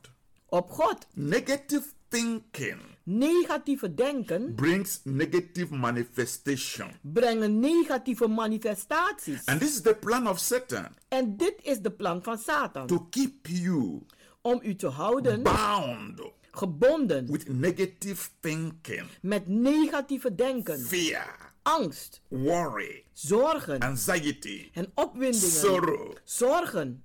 S5: op God.
S11: Negative thinking
S5: Negatieve denken
S11: brings negative manifestation.
S5: brengen negatieve manifestaties.
S11: And this is the plan of Satan
S5: En dit is de plan van Satan.
S11: to keep you
S5: Om u te houden
S11: bound
S5: gebonden
S11: with negative thinking,
S5: met negatieve denken,
S11: fear,
S5: angst,
S11: worry,
S5: zorgen
S11: anxiety,
S5: en opwindingen,
S11: sorrow.
S5: zorgen.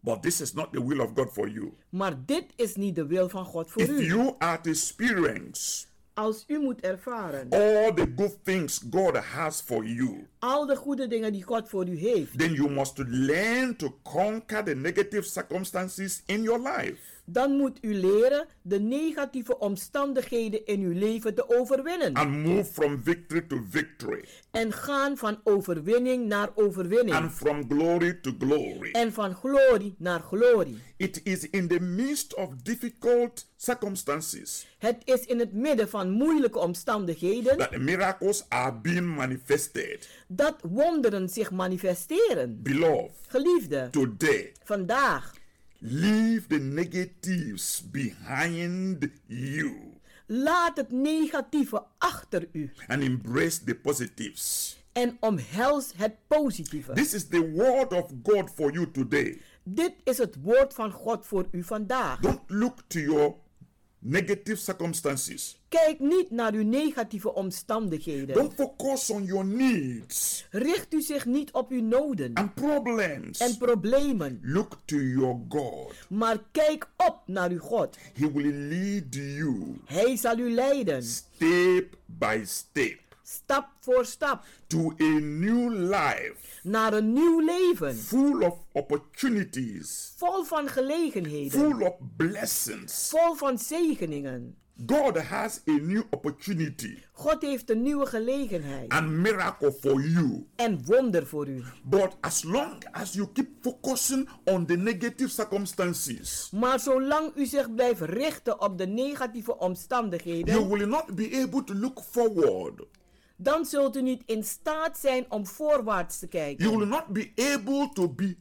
S11: But this is not the will of God for you.
S5: Maar dit is niet de wil van God voor
S11: If
S5: u.
S11: you are to experience
S5: Als u moet ervaren
S11: all the good things God has for you,
S5: al de goede dingen die God voor u heeft,
S11: then you must learn to conquer the negative circumstances in your life.
S5: dan moet u leren de negatieve omstandigheden in uw leven te overwinnen.
S11: and move from victory to victory
S5: En gaan van overwinning naar overwinning.
S11: and from glory to glory.
S5: En van glorie naar glorie.
S11: It is in the midst of difficult circumstances
S5: Het is in het midden van moeilijke omstandigheden
S11: that miracles are being manifested.
S5: dat wonderen zich manifesteren.
S11: Beloved,
S5: Geliefde,
S11: today,
S5: vandaag
S11: leave the negatives behind you
S5: laat het negatieve achter u
S11: and embrace the positives.
S5: en omhels het positieve.
S11: This is the word of God for you today.
S5: Dit is het woord van God voor u vandaag.
S11: Don't look to your negative circumstances.
S5: Kijk niet naar uw negatieve omstandigheden.
S11: Don't focus on your needs
S5: Richt u zich niet op uw noden
S11: and problems.
S5: en problemen,
S11: Look to your God.
S5: maar kijk op naar uw God.
S11: He will lead you
S5: Hij zal u leiden,
S11: step by step
S5: stap voor stap,
S11: to a new life
S5: naar een nieuw leven.
S11: full of opportunities,
S5: Vol van gelegenheden,
S11: full of blessings.
S5: vol van zegeningen.
S11: God has a new opportunity
S5: God heeft een nieuwe gelegenheid
S11: and miracle for you.
S5: en wonder voor u.
S11: But as long as you keep focusing on the negative circumstances,
S5: Maar zolang u zich blijft richten op de negatieve
S11: you
S5: omstandigheden,
S11: will not be able to look forward.
S5: dan zult u niet in staat zijn om voorwaarts te
S11: You
S5: kijken.
S11: will not be able to be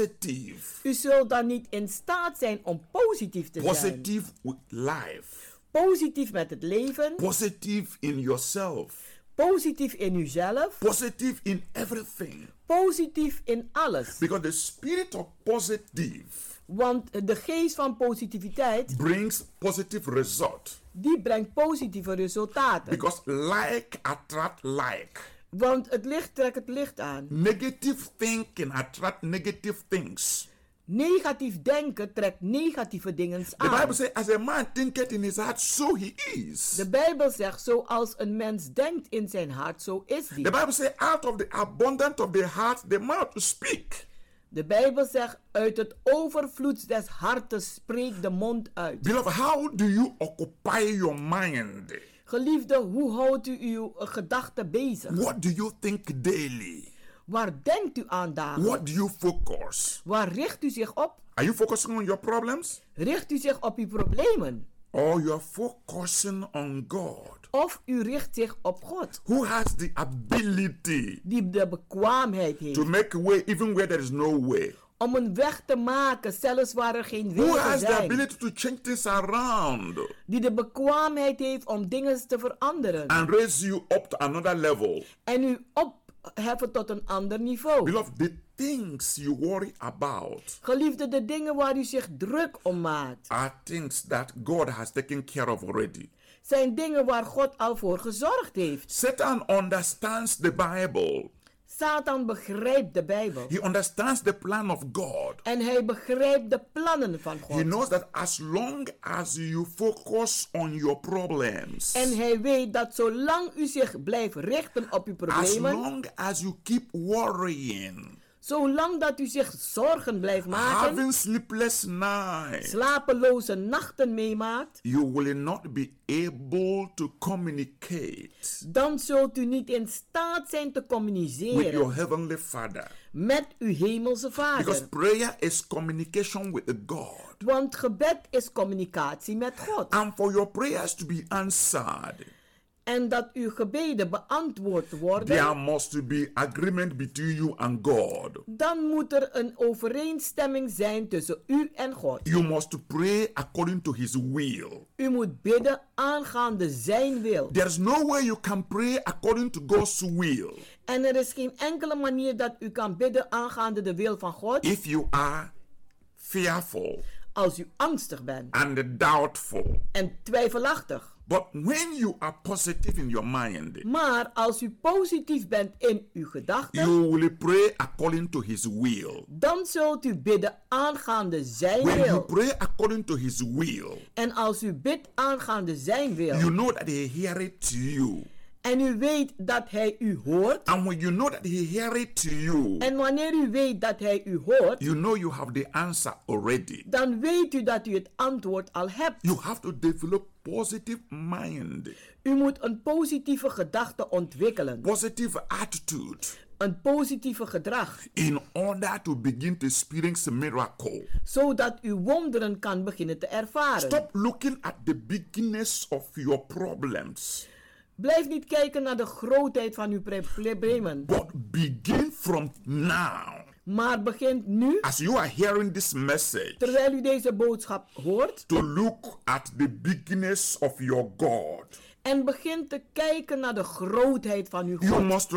S11: positive.
S5: U zult dan niet in staat zijn om positief te zijn.
S11: Positive with life.
S5: Positief met het leven,
S11: Positive in yourself.
S5: positief in uzelf,
S11: Positive in everything.
S5: positief in alles.
S11: Because the spirit of positive
S5: Want de geest van positiviteit,
S11: brings positive result.
S5: die brengt positieve resultaten.
S11: Because like attract like.
S5: Want het licht trekt het licht aan.
S11: Negative thinking attract negative things.
S5: Negatief denken trekt negatieve dingen
S11: The
S5: aan.
S11: Bible says, as a man thinketh in his heart, so he is.
S5: De Bijbel zegt, zoals een mens denkt in zijn hart, zo is die.
S11: the Bible says, out of the abundance of the heart, the mouth speak.
S5: De Bijbel zegt, uit het overvloed des harten spreekt de mond uit.
S11: Beloved, how do you occupy your mind?
S5: Geliefde, hoe houdt u uw eh, gedachten bezig?
S11: What do you think daily?
S5: Waar denkt u aan dagen?
S11: What do you focus?
S5: Waar richt u zich op?
S11: Are you focusing on your problems
S5: Richt u zich op uw problemen?
S11: or you are focusing on God,
S5: Of u richt zich op God,
S11: who has the ability
S5: die de bekwaamheid heeft
S11: to make a way even where there is no way?
S5: om een weg te maken, zelfs waar er geen
S11: Who
S5: wegen
S11: has the
S5: zijn.
S11: ability to change things around
S5: Die de bekwaamheid heeft om dingen te veranderen
S11: and raise you up to another level?
S5: en u opheffen tot een ander niveau.
S11: Beloved, the things you worry about
S5: Geliefde, de dingen waar u zich druk om maakt,
S11: are things that God has taken care of already.
S5: zijn dingen waar God al voor gezorgd heeft.
S11: Satan understands the Bible.
S5: Satan begrijpt de Bijbel
S11: He understands the plan of God.
S5: en hij begrijpt de plannen van
S11: He
S5: God.
S11: knows that as long as you focus on your problems,
S5: En hij weet dat zolang u zich blijft richten op uw
S11: as
S5: problemen,
S11: long as you keep worrying,
S5: Zolang dat u zich zorgen blijft maken,
S11: having sleepless nights,
S5: slapeloze nachten meemaakt,
S11: you will not be able to communicate
S5: dan zult u niet in staat zijn te
S11: with your
S5: communiceren
S11: heavenly Father.
S5: met uw hemelse
S11: Because
S5: Vader.
S11: prayer is communication with God.
S5: Want gebed is communicatie met God.
S11: And for your prayers to be answered,
S5: En dat uw gebeden beantwoord
S11: there
S5: worden,
S11: must be agreement between you and God.
S5: dan moet er een overeenstemming zijn tussen u en God.
S11: You must pray according to His will.
S5: U moet bidden aangaande zijn wil.
S11: There's no way you can pray according to God's will
S5: En er is geen enkele manier dat u kan bidden aangaande de wil van God
S11: if you are fearful
S5: als u angstig bent.
S11: and doubtful.
S5: en twijfelachtig.
S11: But when you are positive in your mind,
S5: Maar als u positief bent in uw gedachten,
S11: you will pray according to His will.
S5: dan zult u bidden aangaande zijn
S11: When you
S5: wil.
S11: pray according to His will,
S5: En als u bidt aangaande zijn wil,
S11: you know that He hear it to you.
S5: en u weet dat hij u hoort,
S11: And when you know that He hear it to you,
S5: en wanneer u weet dat hij u hoort,
S11: you know you have the answer already.
S5: dan weet u dat u het antwoord al hebt.
S11: You have to develop positive mind,
S5: U moet een positieve gedachte ontwikkelen,
S11: positive attitude
S5: een positieve gedrag,
S11: in order to begin to experience miracle.
S5: zodat u wonderen kan beginnen te ervaren.
S11: Stop looking at the bigness of your problems,
S5: Blijf niet kijken naar de grootheid van uw pre- problemen,
S11: but begin from now.
S5: maar begint nu
S11: As you are hearing this message,
S5: Terwijl u deze boodschap hoort
S11: to look at the bigness of your God.
S5: en begint te kijken naar de grootheid van uw
S11: You
S5: God.
S11: must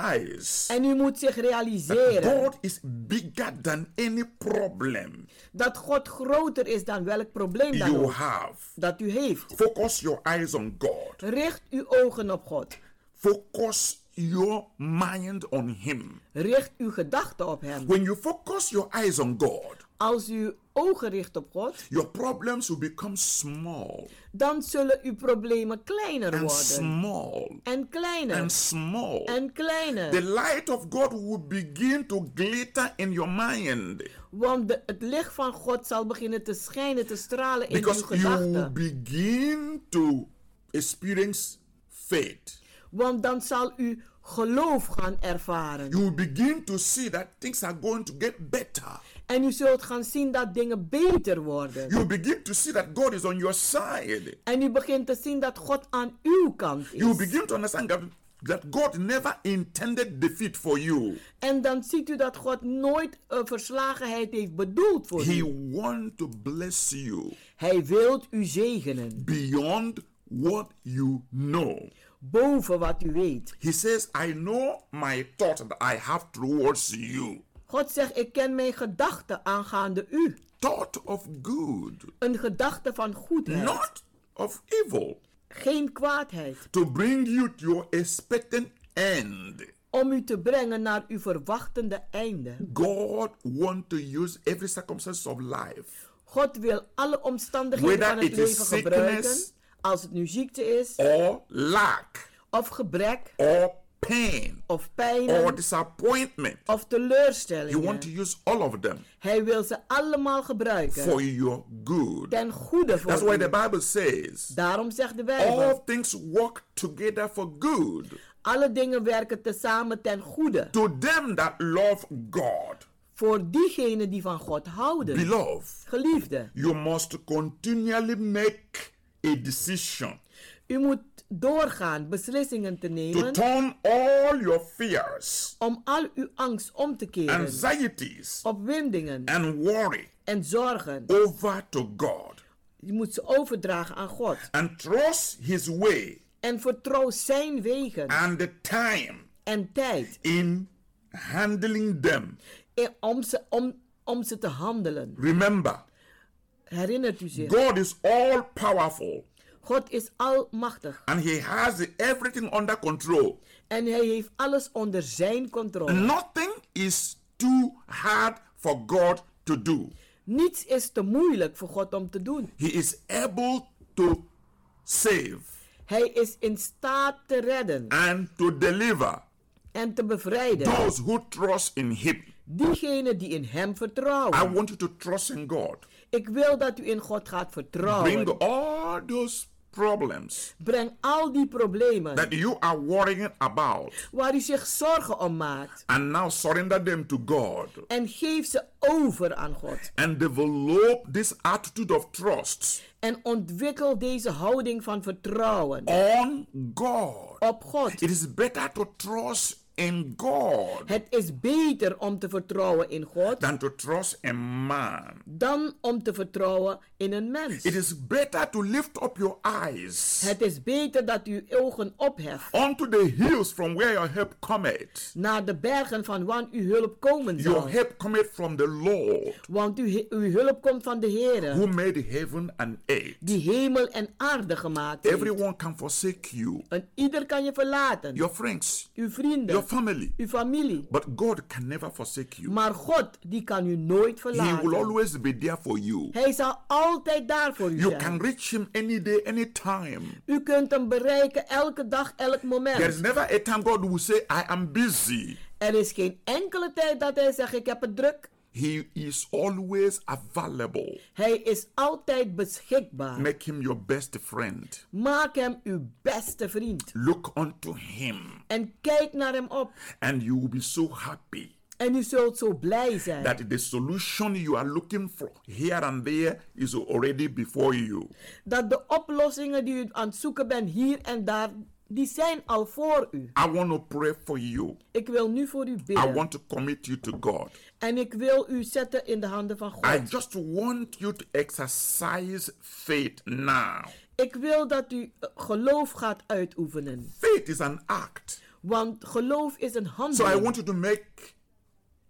S11: realize
S5: En u moet zich
S11: that
S5: realiseren
S11: God is bigger than any problem
S5: dat God groter is dan welk probleem dan
S11: you
S5: ook
S11: have.
S5: dat u heeft.
S11: Focus your eyes on God.
S5: Richt uw ogen op God.
S11: Focus your mind on Him.
S5: Richt uw gedachten op Hem.
S11: When you focus your eyes on God,
S5: Als u ogen richt op God,
S11: your problems will become small
S5: dan zullen uw problemen kleiner
S11: and
S5: worden.
S11: small
S5: En
S11: and
S5: kleiner.
S11: small.
S5: En
S11: The
S5: kleiner.
S11: light of God will begin to glitter in your mind
S5: Want de- het licht van God zal beginnen te schijnen, te stralen in uw
S11: because you will
S5: gedachten.
S11: begin to experience faith.
S5: Want dan zal u geloof gaan ervaren.
S11: You will begin to see that things are going to get better.
S5: En u zult gaan zien dat dingen beter worden.
S11: You will begin to see that God is on your side.
S5: En u begint te zien dat God aan uw kant
S11: You will
S5: is.
S11: begin to understand that, that God never intended defeat for you.
S5: En dan ziet u dat God nooit een verslagenheid heeft bedoeld voor
S11: He
S5: u.
S11: wants to bless you
S5: Hij wilt u zegenen.
S11: beyond what you know.
S5: Boven wat u weet.
S11: He says, I know my thought that I have towards you.
S5: God zegt, ik ken mijn gedachten aangaande u.
S11: Thought of good,
S5: Een gedachte van goedheid.
S11: not of evil,
S5: Geen kwaadheid.
S11: to bring you to your expectant end.
S5: Om u te brengen naar uw verwachtende einde.
S11: God wants to use every circumstance of life
S5: God wil alle omstandigheden
S11: Whether
S5: van het
S11: it is
S5: leven gebruiken.
S11: sickness-
S5: Als het nu ziekte is,
S11: or lack
S5: of gebrek,
S11: or pain
S5: of pijn,
S11: or disappointment.
S5: of
S11: You want to
S5: teleurstellingen.
S11: use all of them
S5: Hij wil ze allemaal
S11: for
S5: gebruiken.
S11: your good.
S5: Ten goede
S11: That's
S5: voor
S11: why
S5: u.
S11: the Bible says
S5: Daarom zegt de
S11: all
S5: Bijbel,
S11: things work together for good
S5: alle dingen werken tezamen ten goede.
S11: to them that love God.
S5: Voor diegenen die van God houden.
S11: Beloved,
S5: Geliefde,
S11: you must continually make a decision
S5: u moet doorgaan beslissingen te
S11: to
S5: nemen
S11: turn all your fears,
S5: om al uw angst om te keren.
S11: anxieties,
S5: Opwindingen
S11: and worry
S5: en zorgen.
S11: over to God
S5: Je moet ze overdragen aan God.
S11: and trust His way
S5: En vertrouw zijn wegen
S11: and the time
S5: en tijd
S11: in handling them.
S5: in- om ze, om, om ze te handelen.
S11: Remember,
S5: Herinnert u zich?
S11: God is all powerful
S5: God is almachtig
S11: and He has everything under control.
S5: en hij heeft alles onder zijn controle.
S11: Nothing is too hard for God to do.
S5: Niets is te moeilijk voor God om te doen.
S11: He is able to save
S5: Hij is in staat te redden
S11: and to deliver
S5: en te bevrijden.
S11: those who trust in Him.
S5: Diegenen die in hem
S11: I
S5: vertrouwen.
S11: want you to trust in God.
S5: Ik wil dat u in God gaat
S11: Bring
S5: vertrouwen.
S11: all those problems
S5: Breng al die problemen
S11: that you are worrying about
S5: waar u zich zorgen om maakt.
S11: and now surrender them to God
S5: En geef ze over aan God.
S11: and develop this attitude of trust
S5: En ontwikkel deze houding van vertrouwen
S11: on God.
S5: op God.
S11: It is better to trust in God
S5: Het is beter om te vertrouwen in God
S11: than to trust in man.
S5: dan om te vertrouwen in een mens.
S11: It is better to lift up your eyes
S5: Het is beter dat u uw ogen opheft
S11: unto the hills from where your help cometh.
S5: naar de bergen van waar uw hulp komen
S11: Your
S5: zal.
S11: help cometh from the Lord
S5: Want uw, he- uw hulp komt van de Heer,
S11: who made heaven and earth.
S5: die hemel en aarde gemaakt heeft.
S11: Everyone can forsake you,
S5: En ieder kan je verlaten.
S11: your friends,
S5: Uw vrienden,
S11: your family,
S5: uw familie.
S11: but God can never forsake you.
S5: Maar God, die kan u nooit
S11: He will
S5: verlaten.
S11: always be there for you.
S5: Hij zal altijd daar voor u
S11: You can
S5: zijn.
S11: reach Him any day, any time.
S5: U kunt hem bereiken elke dag, elk
S11: There is
S5: moment.
S11: never a time God will say, I am busy.
S5: Er is geen enkele tijd dat hij zegt, ik heb het druk.
S11: He is always available.
S5: Hij is altijd beschikbaar.
S11: Make him your best friend.
S5: Maak hem uw beste vriend.
S11: Look unto him,
S5: En kijk naar hem op.
S11: and you will be so happy
S5: En u zult zo blij zijn.
S11: that the solution you are looking for here and there is already before you.
S5: Dat de oplossingen die u aan het zoeken bent hier en daar, die zijn al voor u.
S11: I want to pray for you.
S5: Ik wil nu voor u
S11: I
S5: bidden.
S11: want to commit you to God.
S5: En ik wil u zetten in de handen van
S11: I
S5: God.
S11: just want you to exercise faith now.
S5: Ik wil dat u eh, geloof gaat uitoefenen.
S11: Faith is an act.
S5: Want geloof is een
S11: So I
S5: handeling.
S11: want you to make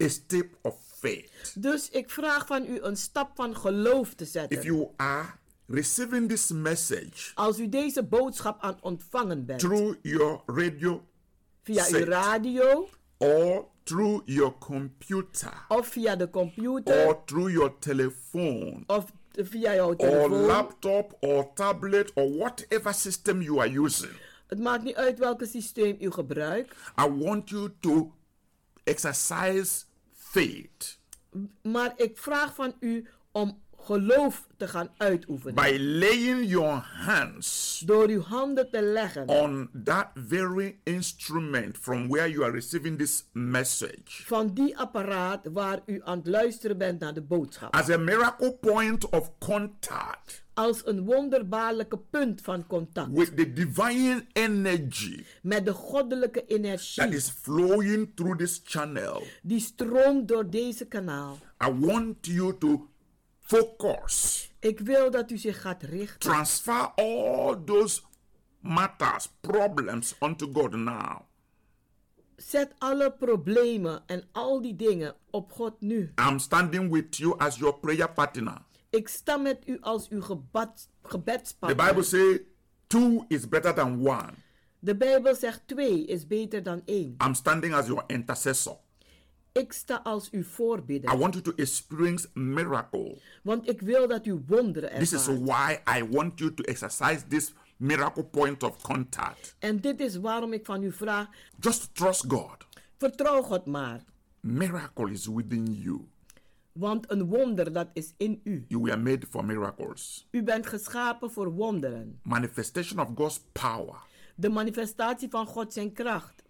S11: a step of faith.
S5: Dus ik vraag van u een stap van geloof te
S11: If
S5: zetten.
S11: you are receiving this message
S5: Als u deze boodschap aan het ontvangen bent.
S11: through your radio
S5: Via uw
S11: zet.
S5: radio
S11: or through your computer
S5: of via de computer
S11: or through your telephone
S5: of via jouw
S11: or
S5: telefoon.
S11: laptop or tablet or whatever system you are using.
S5: Het maakt niet uit welk systeem u gebruikt.
S11: I want you to exercise faith
S5: Maar ik vraag van u om geloof te gaan uitoefenen.
S11: by laying your hands
S5: Door uw handen te leggen
S11: on that very instrument from where you are receiving this message
S5: van die apparaat waar u aan het luisteren bent naar de boodschap.
S11: as a miracle point of contact
S5: Als een wonderbaarlijke punt van contact
S11: with the divine energy
S5: met de goddelijke
S11: that
S5: energie
S11: is flowing through this channel.
S5: die stroomt door deze kanaal.
S11: I want you to focus,
S5: Ik wil dat u zich gaat richten.
S11: transfer all those matters, problems onto God now.
S5: Zet alle problemen en al die dingen op God nu.
S11: I'm standing with you as your prayer partner.
S5: Ik sta met u als uw gebad,
S11: The Bible
S5: gebedspartner.
S11: says two is better than one.
S5: De Bijbel zegt twee is beter dan één.
S11: I'm standing as your intercessor.
S5: Ik sta als uw
S11: I
S5: voorbidder.
S11: want you to experience miracle.
S5: Want ik wil dat u wonderen
S11: This is
S5: ervaart.
S11: why I want you to exercise this miracle point of contact.
S5: En dit is waarom ik van u vraag,
S11: Just trust God.
S5: vertrouw God maar.
S11: Miracle is within you.
S5: Want een wonder, dat is in u.
S11: You were made for miracles.
S5: U bent geschapen voor wonderen.
S11: Manifestation of God's power
S5: De manifestatie van God zijn kracht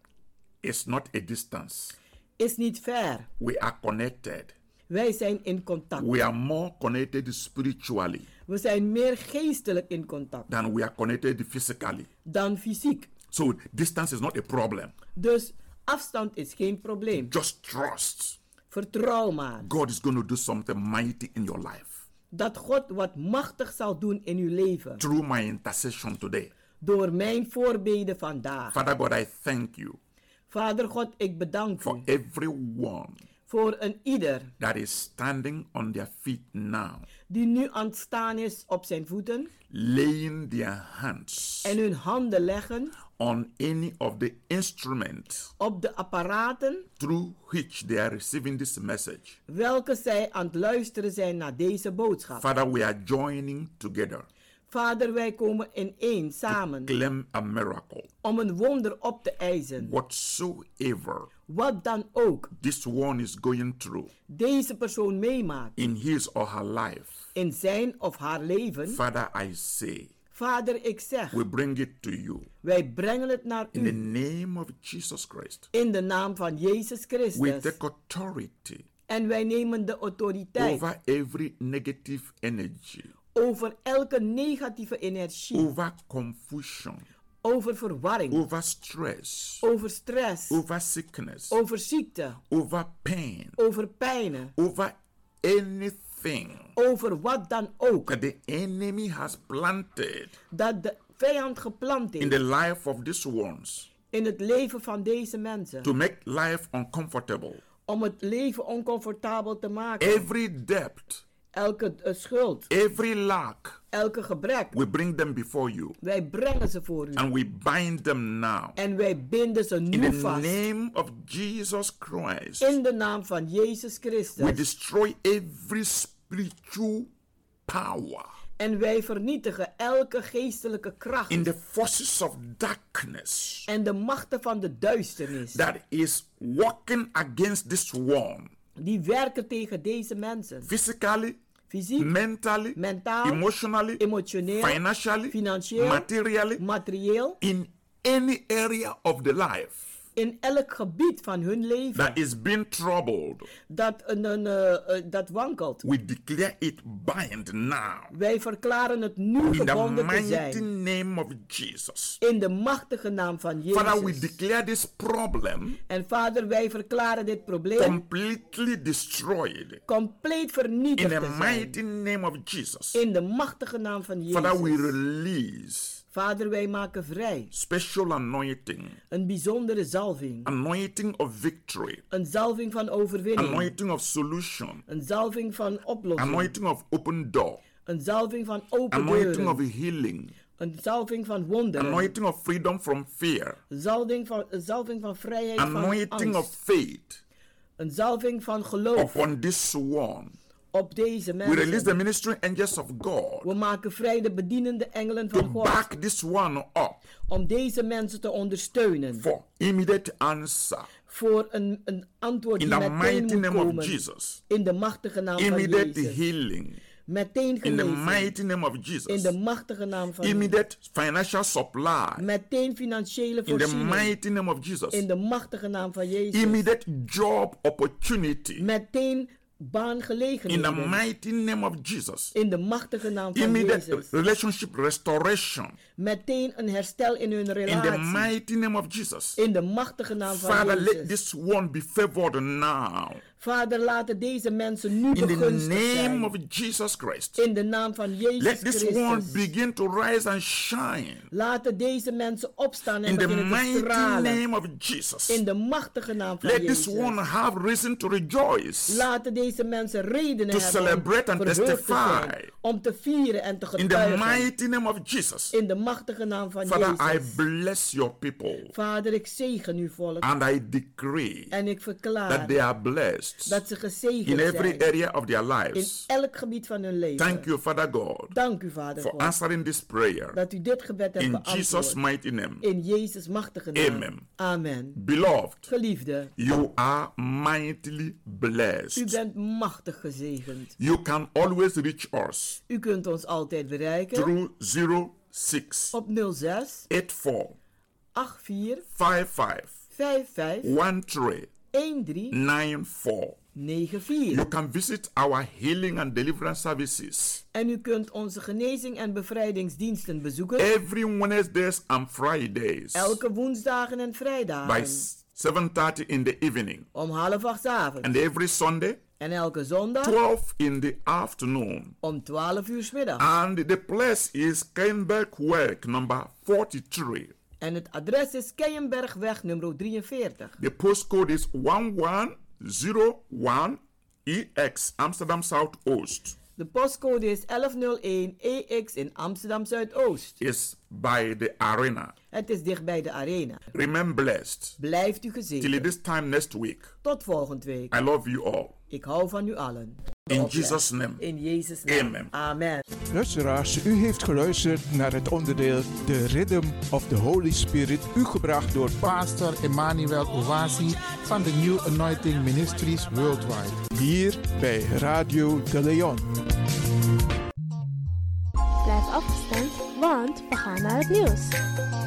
S11: is not a distance.
S5: is niet ver.
S11: We are connected.
S5: Wij zijn in contact.
S11: We are more connected spiritually
S5: We zijn meer geestelijk in contact
S11: than we are connected physically.
S5: dan fysiek.
S11: So distance is not a problem.
S5: Dus afstand is geen probleem.
S11: Just trust.
S5: Vertrouw maar
S11: God is going to do something mighty in your life
S5: dat God wat machtig zal doen in uw leven.
S11: through my intercession today.
S5: Door mijn voorbeden vandaag.
S11: Father God, I thank you
S5: Vader God, ik bedank
S11: for
S5: u
S11: everyone
S5: voor een ieder
S11: that is standing on their feet now,
S5: die nu aan het staan is op zijn voeten
S11: laying their hands
S5: en hun handen leggen
S11: on any of the instruments
S5: op de apparaten
S11: through which they are receiving this message.
S5: welke zij aan het luisteren zijn naar deze boodschap.
S11: Father, we are joining together
S5: Vader, wij komen in één samen
S11: claim a miracle.
S5: om een wonder op te eisen.
S11: Whatsoever
S5: Wat dan ook
S11: this one is going through
S5: deze persoon meemaakt
S11: in his or her life,
S5: in zijn of haar leven.
S11: Father, I say,
S5: Vader, ik zeg,
S11: we bring it to you
S5: wij brengen het naar
S11: in the
S5: u
S11: name of Jesus Christ.
S5: in de naam van Jezus
S11: We
S5: Christus.
S11: take authority
S5: En wij nemen de autoriteit
S11: over every negative energy,
S5: over elke negatieve energie,
S11: over confusion,
S5: over verwarring,
S11: over stress,
S5: over stress,
S11: over sickness,
S5: over ziekte,
S11: over pain,
S5: over pijnen,
S11: over anything
S5: over wat dan ook
S11: that the enemy has planted
S5: dat de vijand geplant
S11: in the
S5: is
S11: life of these ones
S5: in het leven van deze mensen.
S11: to make life uncomfortable.
S5: Om het leven oncomfortabel te maken.
S11: Every debt,
S5: Elke eh, schuld,
S11: every lack,
S5: elke gebrek,
S11: we bring them before you
S5: wij brengen ze voor u.
S11: and we bind them now.
S5: En wij binden ze
S11: In
S5: nu
S11: the
S5: vast.
S11: name of Jesus Christ,
S5: In de naam van Jezus
S11: we
S5: Christus.
S11: destroy every spiritual power
S5: En wij vernietigen elke geestelijke kracht.
S11: in the forces of darkness
S5: En de machten van de duisternis.
S11: that is working against this one
S5: Die werken tegen deze mensen.
S11: physically,
S5: Fysiek,
S11: mentally,
S5: Mentaal,
S11: emotionally,
S5: emotioneel,
S11: financially,
S5: financieel,
S11: materially,
S5: materieel.
S11: in any area of the life
S5: In elk gebied van hun leven.
S11: that is being troubled.
S5: Dat, een, een, eh, eh, dat wankelt.
S11: We declare it bind now.
S5: Wij verklaren het nu
S11: In the
S5: gebonden te
S11: mighty
S5: zijn.
S11: name of Jesus.
S5: In de machtige naam van
S11: Father, we
S5: Jezus.
S11: declare this problem
S5: En vader, wij verklaren dit probleem
S11: completely destroyed.
S5: compleet
S11: In
S5: vernietigd
S11: the
S5: te zijn.
S11: mighty name of Jesus.
S5: In de machtige naam van
S11: Father, we
S5: Jezus.
S11: release
S5: Vader, wij maken vrij.
S11: special anointing,
S5: Een bijzondere zalving.
S11: anointing of victory,
S5: Een zalving van overwinning.
S11: anointing of solution,
S5: Een zalving van oplossing.
S11: anointing of open door,
S5: Een zalving van open
S11: anointing of
S5: deuren.
S11: healing,
S5: Een zalving van wonderen.
S11: anointing of freedom from fear,
S5: Zalving van, een zalving van vrijheid van
S11: anointing of
S5: angst.
S11: faith,
S5: Een zalving van geloof
S11: upon this one.
S5: op deze
S11: We release the
S5: mensen.
S11: ministering angels of God
S5: We maken vrij de bedienende engelen
S11: to
S5: van God
S11: back this one up
S5: om deze mensen te ondersteunen
S11: for immediate answer
S5: voor een, een antwoord
S11: in
S5: die
S11: the
S5: meteen
S11: mighty
S5: moet
S11: name of
S5: komen.
S11: Jesus.
S5: In de machtige naam van
S11: Immediate
S5: Jezus.
S11: healing
S5: Meteen
S11: in the
S5: genezen.
S11: mighty name of
S5: In
S11: Jesus.
S5: de machtige naam van Jezus.
S11: Immediate financial supply
S5: Meteen financiële
S11: in the
S5: voorziening.
S11: mighty name of Jesus.
S5: In de machtige naam van Jezus.
S11: Immediate job opportunity
S5: Meteen
S11: in the
S5: baangelegenheden.
S11: mighty name of Jesus.
S5: In de machtige naam van
S11: Immediate
S5: Jezus.
S11: relationship restoration
S5: Meteen een herstel in hun
S11: in the
S5: relatie.
S11: mighty name of Jesus.
S5: In de machtige naam van
S11: Father, let
S5: Jezus.
S11: this one be favored now.
S5: Vader, laten deze mensen nu
S11: In the
S5: begunstigd
S11: name
S5: zijn.
S11: of Jesus Christ,
S5: In de naam van Jezus
S11: let this one
S5: Christus.
S11: begin to rise and shine.
S5: Laten deze mensen opstaan en
S11: In the
S5: beginnen te
S11: mighty
S5: stralen.
S11: name of Jesus,
S5: In de machtige naam van
S11: let this
S5: Jezus.
S11: one have reason to rejoice.
S5: Laten deze mensen redenen
S11: To
S5: hebben
S11: celebrate
S5: om
S11: and
S5: verheugd te
S11: testify.
S5: zijn, om te vieren en te
S11: In the
S5: getuigen.
S11: mighty name of Jesus,
S5: In de machtige naam van
S11: Father, I
S5: Jezus.
S11: bless your people
S5: Vader, ik zegen uw volk
S11: and I decree
S5: en ik
S11: that they
S5: verklaar
S11: are blessed
S5: dat ze
S11: in
S5: gezegend
S11: every
S5: zijn
S11: area of their
S5: in
S11: lives.
S5: elk gebied van hun leven.
S11: Thank you, Father God,
S5: Dank u, Vader
S11: for
S5: God,
S11: answering this prayer
S5: dat u dit gebed hebt
S11: in Jesus'
S5: beantwoord.
S11: mighty name.
S5: In Jezus' machtige naam.
S11: Amen.
S5: Amen.
S11: Beloved,
S5: Geliefde,
S11: You are mightily
S5: u
S11: blessed.
S5: bent machtig gezegend.
S11: You can always reach us
S5: U kunt ons altijd bereiken
S11: through 06
S5: op 06
S11: 84
S5: 84
S11: 55
S5: 55 13
S11: 94.
S5: 94.
S11: You can visit our healing and deliverance services
S5: En u kunt onze genezing en bevrijdingsdiensten bezoeken
S11: every Wednesdays and Fridays
S5: elke woensdagen en
S11: by
S5: vrijdagen
S11: 7:30 in the evening
S5: om half acht 's avonds
S11: and every Sunday
S5: en elke zondag
S11: 12 in the afternoon.
S5: om 12 uur 's middag.
S11: And the place is Kenberg Work number 43.
S5: En het adres is Keienbergweg nummer 43.
S11: The postcode is 1101 EX, E Amsterdam South Oost.
S5: De postcode is 1101 EX in Amsterdam Zuidoost.
S11: Is by the arena.
S5: Het is dichtbij de arena.
S11: Remain blessed.
S5: Blijft u
S11: Till
S5: gezegend.
S11: this time next week,
S5: Tot volgende week.
S11: I love you all.
S5: Ik hou van u allen.
S11: In Jesus' name.
S5: In Jezus' naam.
S11: Amen.
S5: Amen.
S12: Luisteraars, u heeft geluisterd naar het onderdeel The Rhythm of the Holy Spirit, u gebracht door
S10: Pastor Emmanuel Owasi van de New Anointing Ministries Worldwide.
S12: hier bij Radio De Leon.
S13: Blijf afgestemd, want we gaan naar het nieuws.